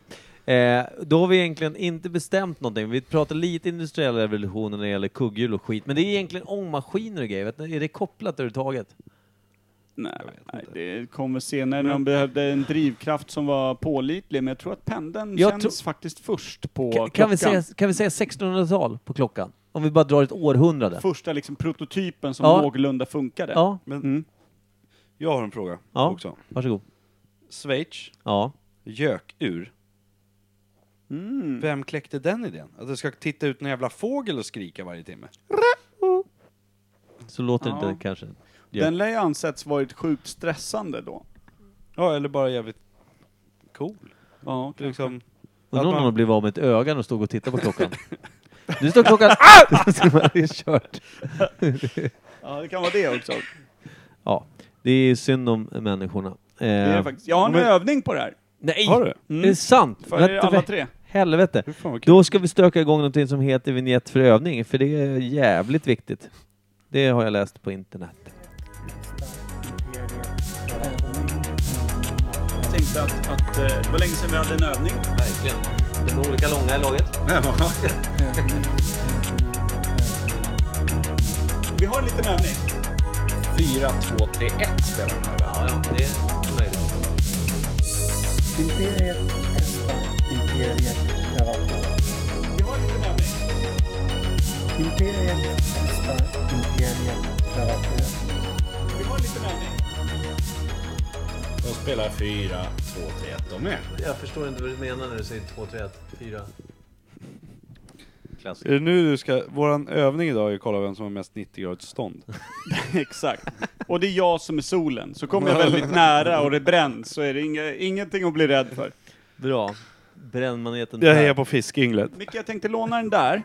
Eh, då har vi egentligen inte bestämt någonting. Vi pratar lite industriella revolutionen när det gäller kugghjul och skit, men det är egentligen ångmaskiner och grejer. Vet ni, Är det kopplat överhuvudtaget? Nej, nej, det kommer senare när de behövde en drivkraft som var pålitlig, men jag tror att pendeln Jag känns faktiskt först på Kan, kan, klockan. vi säga, kan vi säga 1600-tal på klockan? Om vi bara drar ett århundrade. Första liksom prototypen som Ja. någorlunda funkade. Ja, Mm. Jag har en fråga Ja. också. varsågod. Schweiz, Ja. gökur. Mm. Vem kläckte den idén? Att det ska titta ut en jävla fågel och skrika varje timme? Så låter det Ja. inte kanske. Ja. Den lär ju ansetts varit sjukt stressande då. Ja, eller bara jävligt cool. Ja, Liksom, Undrar Att om man- någon blev av med ett öga när de stod och tittade på [LAUGHS] klockan. [LAUGHS] Nu står klockan... Ah! det är kört. ja det kan vara det också. Ja, det är synd om människorna. Eh, Det är det faktiskt. Jag har en Men- övning på det här. Nej! har du? Mm. Det är sant! För er Vänta, alla vä- tre. Helvete. Hur fan vad kul. Då ska vi stöka igång någonting som heter vignett för övning, för det är jävligt viktigt. Det har jag läst på internet. Jag tänkte att, att eh, det var länge sedan vi hade en övning. Verkligen. Det är olika långa i laget. Vi har en liten övning. Ja, ja, det är möjligt. Vi har en liten övning. Vi har en liten övning. De spelar 4, 2, 3, 1 de med. Jag förstår inte vad du menar när du säger 2, 3, 1, 4. Är det nu du ska... Våran övning idag är att kolla vem som har mest 90-gradigt stånd. [LAUGHS] Exakt. Och det är jag som är solen. Så [LAUGHS] kommer jag väldigt nära och det bränns så är det inga, ingenting att bli rädd för. Bra. Brännmaneten Jag hejar på fiskinglet. Micke, jag tänkte låna den där.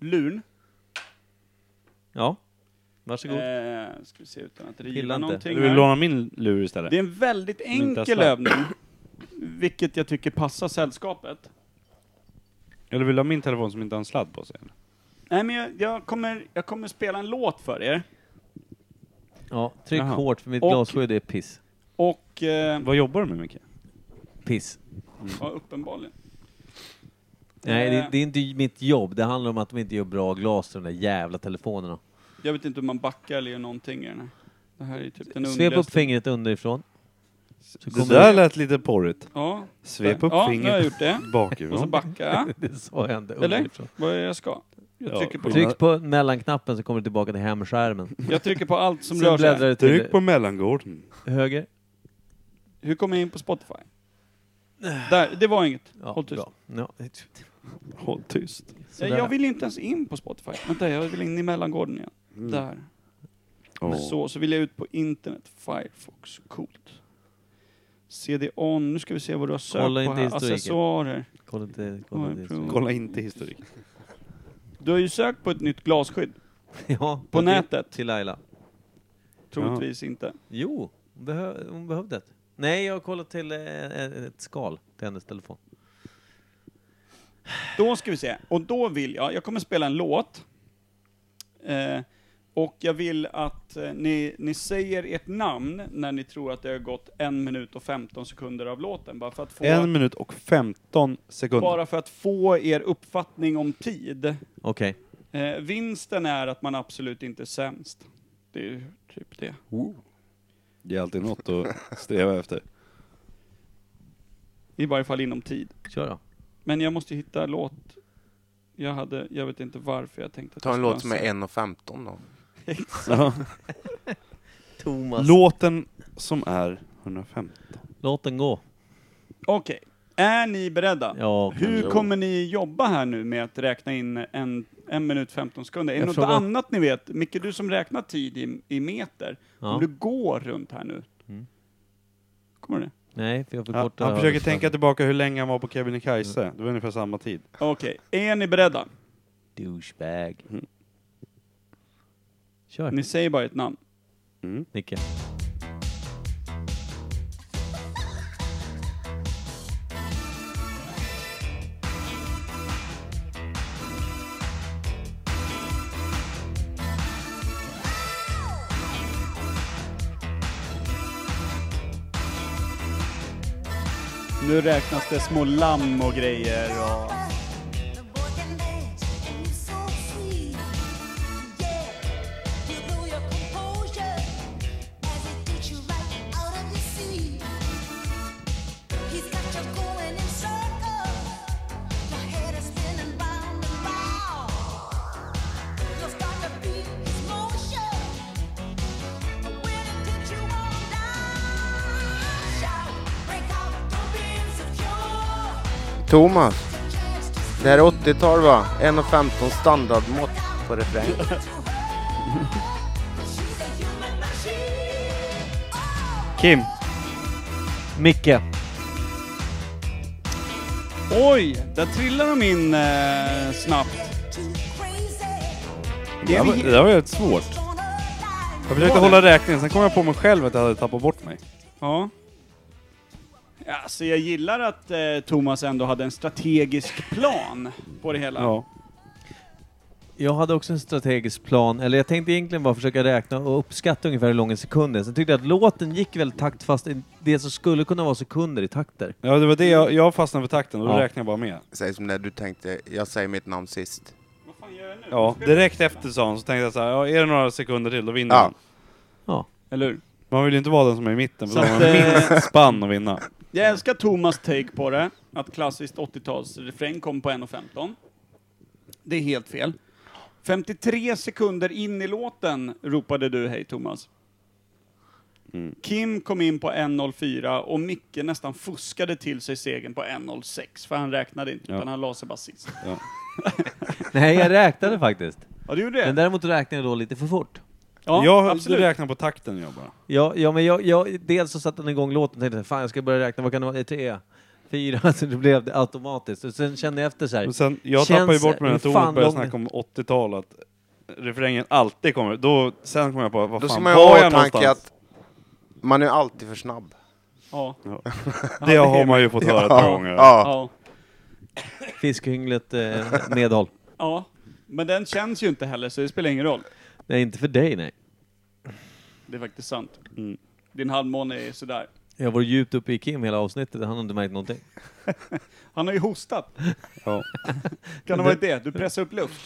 Lurn. Ja. Varsågod. Eh, ska vi se utan att Pilla riva inte. någonting Du vill här. låna min lur istället? Det är en väldigt enkel Tesla. övning. Vilket jag tycker passar sällskapet. Eller vill du ha min telefon som inte har en sladd på sig? Nej men jag, jag, kommer, jag kommer spela en låt för er. Ja, tryck Jaha. hårt för mitt Och- glasskydd är piss. Och... Eh, Vad jobbar du med Micke? Piss. ja, uppenbarligen. Nej, Eh, det, det är inte mitt jobb. Det handlar om att de inte gör bra glas till de där jävla telefonerna. Jag vet inte om man backar eller gör någonting i den här. Det här är typ den Svep upp underligaste. fingret underifrån. Så Det kommer där lät lite porrigt. Ja, Svep upp ja, nu har jag fingret gjort det. Och så [LAUGHS] bakifrån. backar jag. [LAUGHS] Det sa jag inte. Eller? Underifrån. Vad är det jag ska? Jag Ja, trycker på, Tryck på mellanknappen så kommer du tillbaka till hemskärmen. jag trycker på allt som Sen rör sig. bläddrar du till Tryck på mellangården. höger. Hur kommer jag in på Spotify? Där, det var inget. Ja, Håll tyst. bra. Ja, Håll tyst. Eh, sådär. Jag vill inte ens in på Spotify. Vänta, jag vill in i mellangården igen. Mm. Där. Mm. Åh. Så, så vill jag ut på internet. Firefox, coolt. CD-on, nu ska vi se vad du har sökt Kolla på inte här. historiken. Accessoarer. Kolla inte... Kolla Ja, inte. prova. Kolla inte historik. Du har ju sökt på ett nytt glasskydd. [LAUGHS] Ja, På till- nätet. Till Laila. Troligtvis inte. Jo, hon, behö- hon behövde ett. Nej, jag har kollat till eh, ett skal till hennes telefon. Då ska vi se. Och då vill jag, jag kommer spela en låt. Eh, och jag vill att eh, ni, ni säger ert namn när ni tror att det har gått en minut och 15 sekunder av låten. Bara för att få, En minut och 15 sekunder. bara för att få er uppfattning om tid. Okej. Eh, vinsten är att man absolut inte är sämst. Det är ju typ det. Det är alltid något att sträva efter. I varje fall inom tid. Kör då. Men jag måste ju hitta låt. Jag hade, jag vet inte varför jag tänkte att Ta jag en skulle låt som är ha en 1.15 då. Thomas. Låten som är 150. Låt den gå. Okej. Är ni beredda? Ja, Hur kommer ni jobba här nu med att räkna in en, en minut 15 sekunder? Är det Jag något frågar- annat ni vet? Micke, du som räknar tid i, i meter, Ja. om du går runt här nu, Mm. kommer det? Nej, för jag Ja, förkortar. han försöker tänka tillbaka hur länge han var på Kebnekaise. Det var ungefär samma tid. Okej, är ni beredda? Douchebag. Mm. Kör, Ni säger bara ett namn. Nicke. Nu räknas det små lamm och grejer och... Thomas. Det här är 80-tal va? 1.15 standardmått på refräng. Kim. Micke. Oj, där trillar de in eh, snabbt. Det där var, det där var jävligt svårt. Jag försökte hålla räkningen, sen kom jag på mig själv att jag hade tappat bort mig. Ja. ja så jag gillar att eh, Thomas ändå hade en strategisk plan på det hela. Ja. Jag hade också en strategisk plan, eller jag tänkte egentligen bara försöka räkna och uppskatta ungefär hur lång en sekund är. Sen tyckte jag att låten gick väldigt taktfast i det som skulle kunna vara sekunder i takter. Ja, det var det jag, jag fastnade för takten och då Ja. räknade jag bara med. Säg som när du tänkte, jag säger mitt namn sist. Vad fan gör jag nu? Ja, direkt efter sa hon så tänkte jag så här, ja, är det några sekunder till då vinner Ja. man. Eller hur? Man vill ju inte vara den som är i mitten, för Så då har att, man eh, minst spann att vinna. Jag älskar Thomas take på det, att klassiskt 80-talsrefräng kom på 1.15. Det är helt fel. 53 sekunder in i låten ropade du hej Thomas. Kim kom in på 1.04 och Micke nästan fuskade till sig segern på 1.06 för han räknade inte Ja. utan han la sig bara sist. [LAUGHS] Nej, jag räknade faktiskt. Ja, du gjorde det? Men däremot räknade jag då lite för fort. ja, jag absolut. räknar på takten jag bara. Ja, ja men jag, jag, dels så satte den igång låten och tänkte fan jag ska börja räkna, vad kan det vara? Det är Tre, fyra, [LAUGHS] så det blev det automatiskt. Och sen kände jag efter så här. Och sen, jag Känns- tappar ju bort mig när hur Thomas fan började lång- snacka om 80-tal, att refrängen alltid kommer. Då, sen kom jag på, vad Då ska fan man ju var ha i jag åtanke någonstans? att man är alltid för snabb. Ja, Det har man ju fått höra ett par gånger. Ja. ja, Fiskynglet eh, medhåll. ja. Men den känns ju inte heller så det spelar ingen roll. [LAUGHS] Nej, inte för dig nej. Det är faktiskt sant. Mm. Din halvmåne är sådär. Jag var djupt uppe i Kim hela avsnittet, han har inte märkt någonting. Han har ju hostat. Ja. Kan det ha varit det? Du pressar upp luft.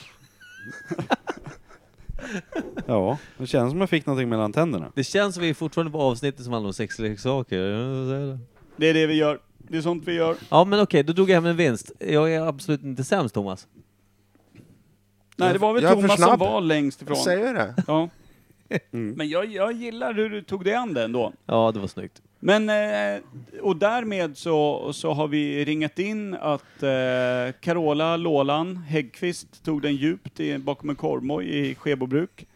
ja, det känns som jag fick någonting mellan tänderna. Det känns som vi är fortfarande på avsnittet som handlar om sexleksaker. Ja, så är det. Det är det vi gör. Det är sånt vi gör. Ja men okej, då drog jag hem en vinst. Jag är absolut inte sämst Thomas. Nej, det var väl jag är för Thomas som snabb. var längst ifrån. Jag säger ju det. [LAUGHS] Ja. Mm. Men jag, jag gillar hur du tog dig an det ändå. Ja, det var snyggt. Men, eh, och därmed så, så har vi ringat in att eh, Carola Lålan Häggqvist tog den djupt i, bakom en korvmoj i Skebobruk.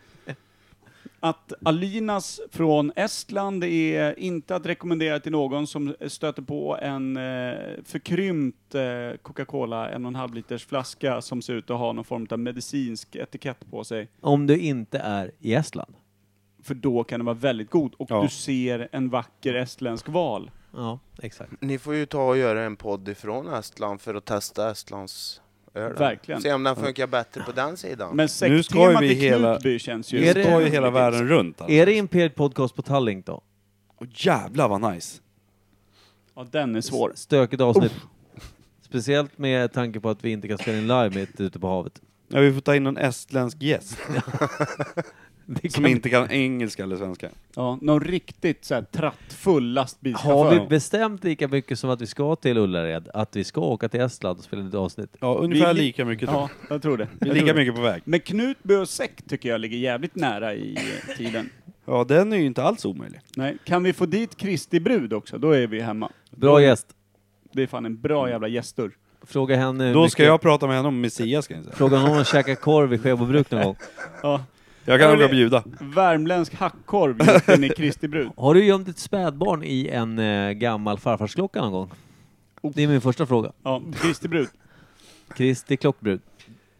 Att Alinas från Estland är inte att rekommendera till någon som stöter på en eh, förkrympt eh, Coca-Cola, en och en halv liters flaska som ser ut att ha någon form av medicinsk etikett på sig. Om du inte är i Estland. För då kan den vara väldigt god och Ja. du ser en vacker estländsk val. Ja, exakt. Ni får ju ta och göra en podd ifrån Estland för att testa Estlands öl. Verkligen. Se om den funkar bättre på den sidan. Men ska ju sekttemat vi i hela- Knutby känns ju... Är Vi det- står ju hela världen runt alltså. Är det Imperiet Podcast på Tallink då? Åh, jävlar vad nice! Ja, den är svår. Stökigt avsnitt. Speciellt med tanke på att vi inte kan spela in live mitt ute på havet. Ja, vi får ta in en estländsk [LAUGHS] gäst Det som inte kan engelska eller svenska. Ja, någon riktigt så här trattfull Har vi lastbilschaufför. bestämt lika mycket som att vi ska till Ullared, att vi ska åka till Estland och spela in ett avsnitt? Ja, ungefär Vi- lika mycket. Ja, jag tror det. Vi är lika mycket på väg. Men Knutby och Säck tycker jag ligger jävligt nära i eh, tiden. Ja, den är ju inte alls omöjlig. Nej, kan vi få dit Kristi brud också, då är vi hemma. Bra gäst. Det är fan en bra jävla gästdörr. Fråga henne hur Då ska mycket- jag prata med henne om Messias kan jag säga. Fråga honom om käka korv i Skebobruk någon gång. Ja, Jag kan Ja, nog det- bjuda. värmländsk hackkorv just in i Kristi brud. Har du gömt ett spädbarn i en eh, gammal farfarsklocka någon gång? Det är min första fråga. Ja, Kristi brud. Kristi klockbrud.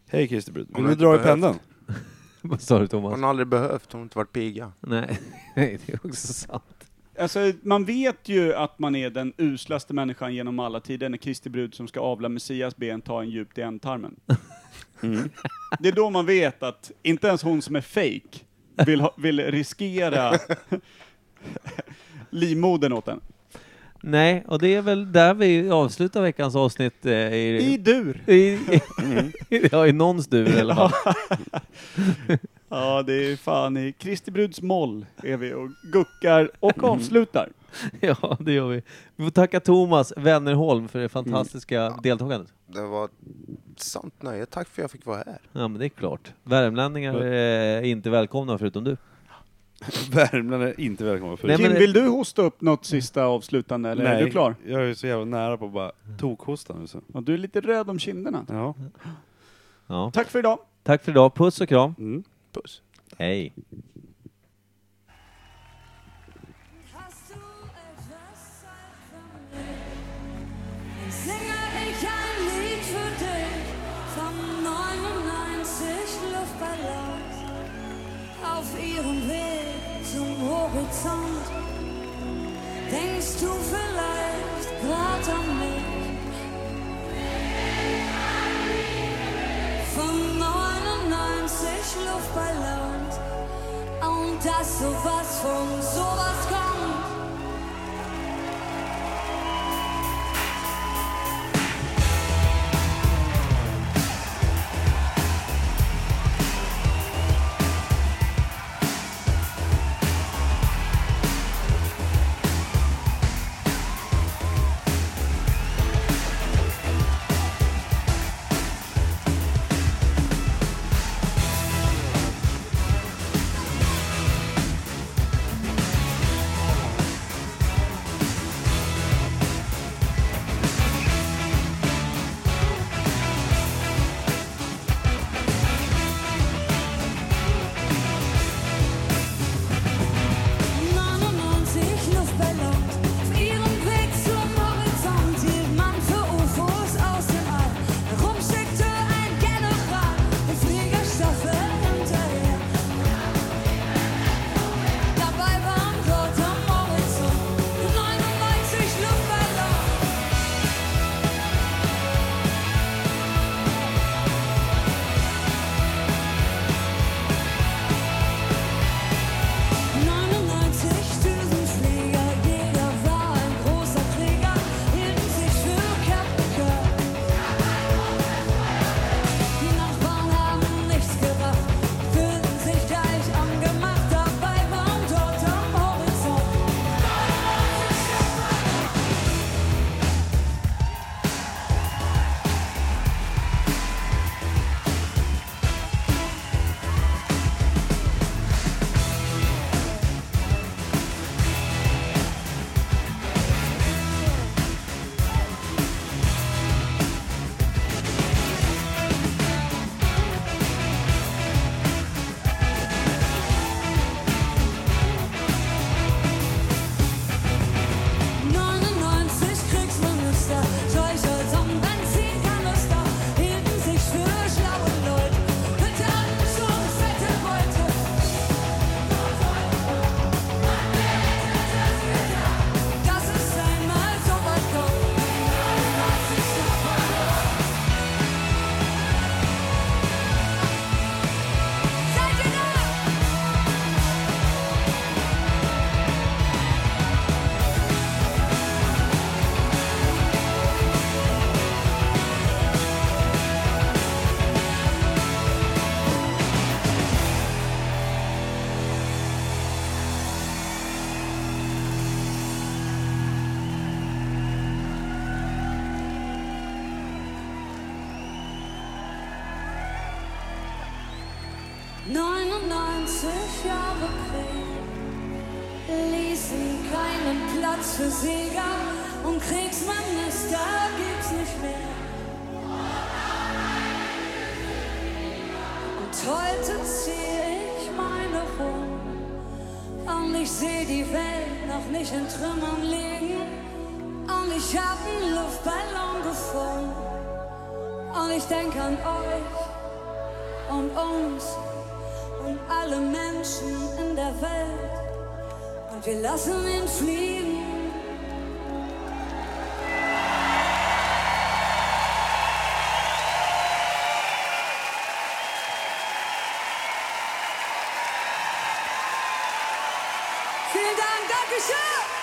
Hej Christer Brud. Vill Hon har du inte dra i behövt. pendeln? [LAUGHS] [LAUGHS] Vad sa du Thomas? Hon har aldrig behövt, hon har inte varit piga. [LAUGHS] Nej, Nej, det är också sant. Alltså, man vet ju att man är den uslaste människan genom alla tider när Kristi brud som ska avla Messias ben tar en djupt i ändtarmen. Mm. Det är då man vet att inte ens hon som är fake [LAUGHS] vill, ha, vill riskera livmodern åt den. Nej, och det är väl där vi avslutar veckans avsnitt. Eh, I i, dur! i, Mm. i, [LAUGHS] ja, i någon stur i alla [LAUGHS] fall. Ja, det är fan i Kristi Bruds moll är vi och guckar Mm. och avslutar. Ja, det gör vi. Vi får tacka Thomas Wennerholm för det fantastiska deltagandet. Det var ett sant nöje. Tack för att jag fick vara här. Ja, men det är klart. Värmlänningar är inte välkomna förutom du. Värmland är inte välkomna förut. Nej, men Kim, det- vill du hosta upp något sista avslutande eller är du klar? Jag är så jävla nära på att bara tokhosta nu så. Ja, du är lite röd om kinderna. Ja. Ja. Tack för idag! Tack för idag. Puss och kram. Mm. Puss. Hej. Vielen Dank, Dankeschön!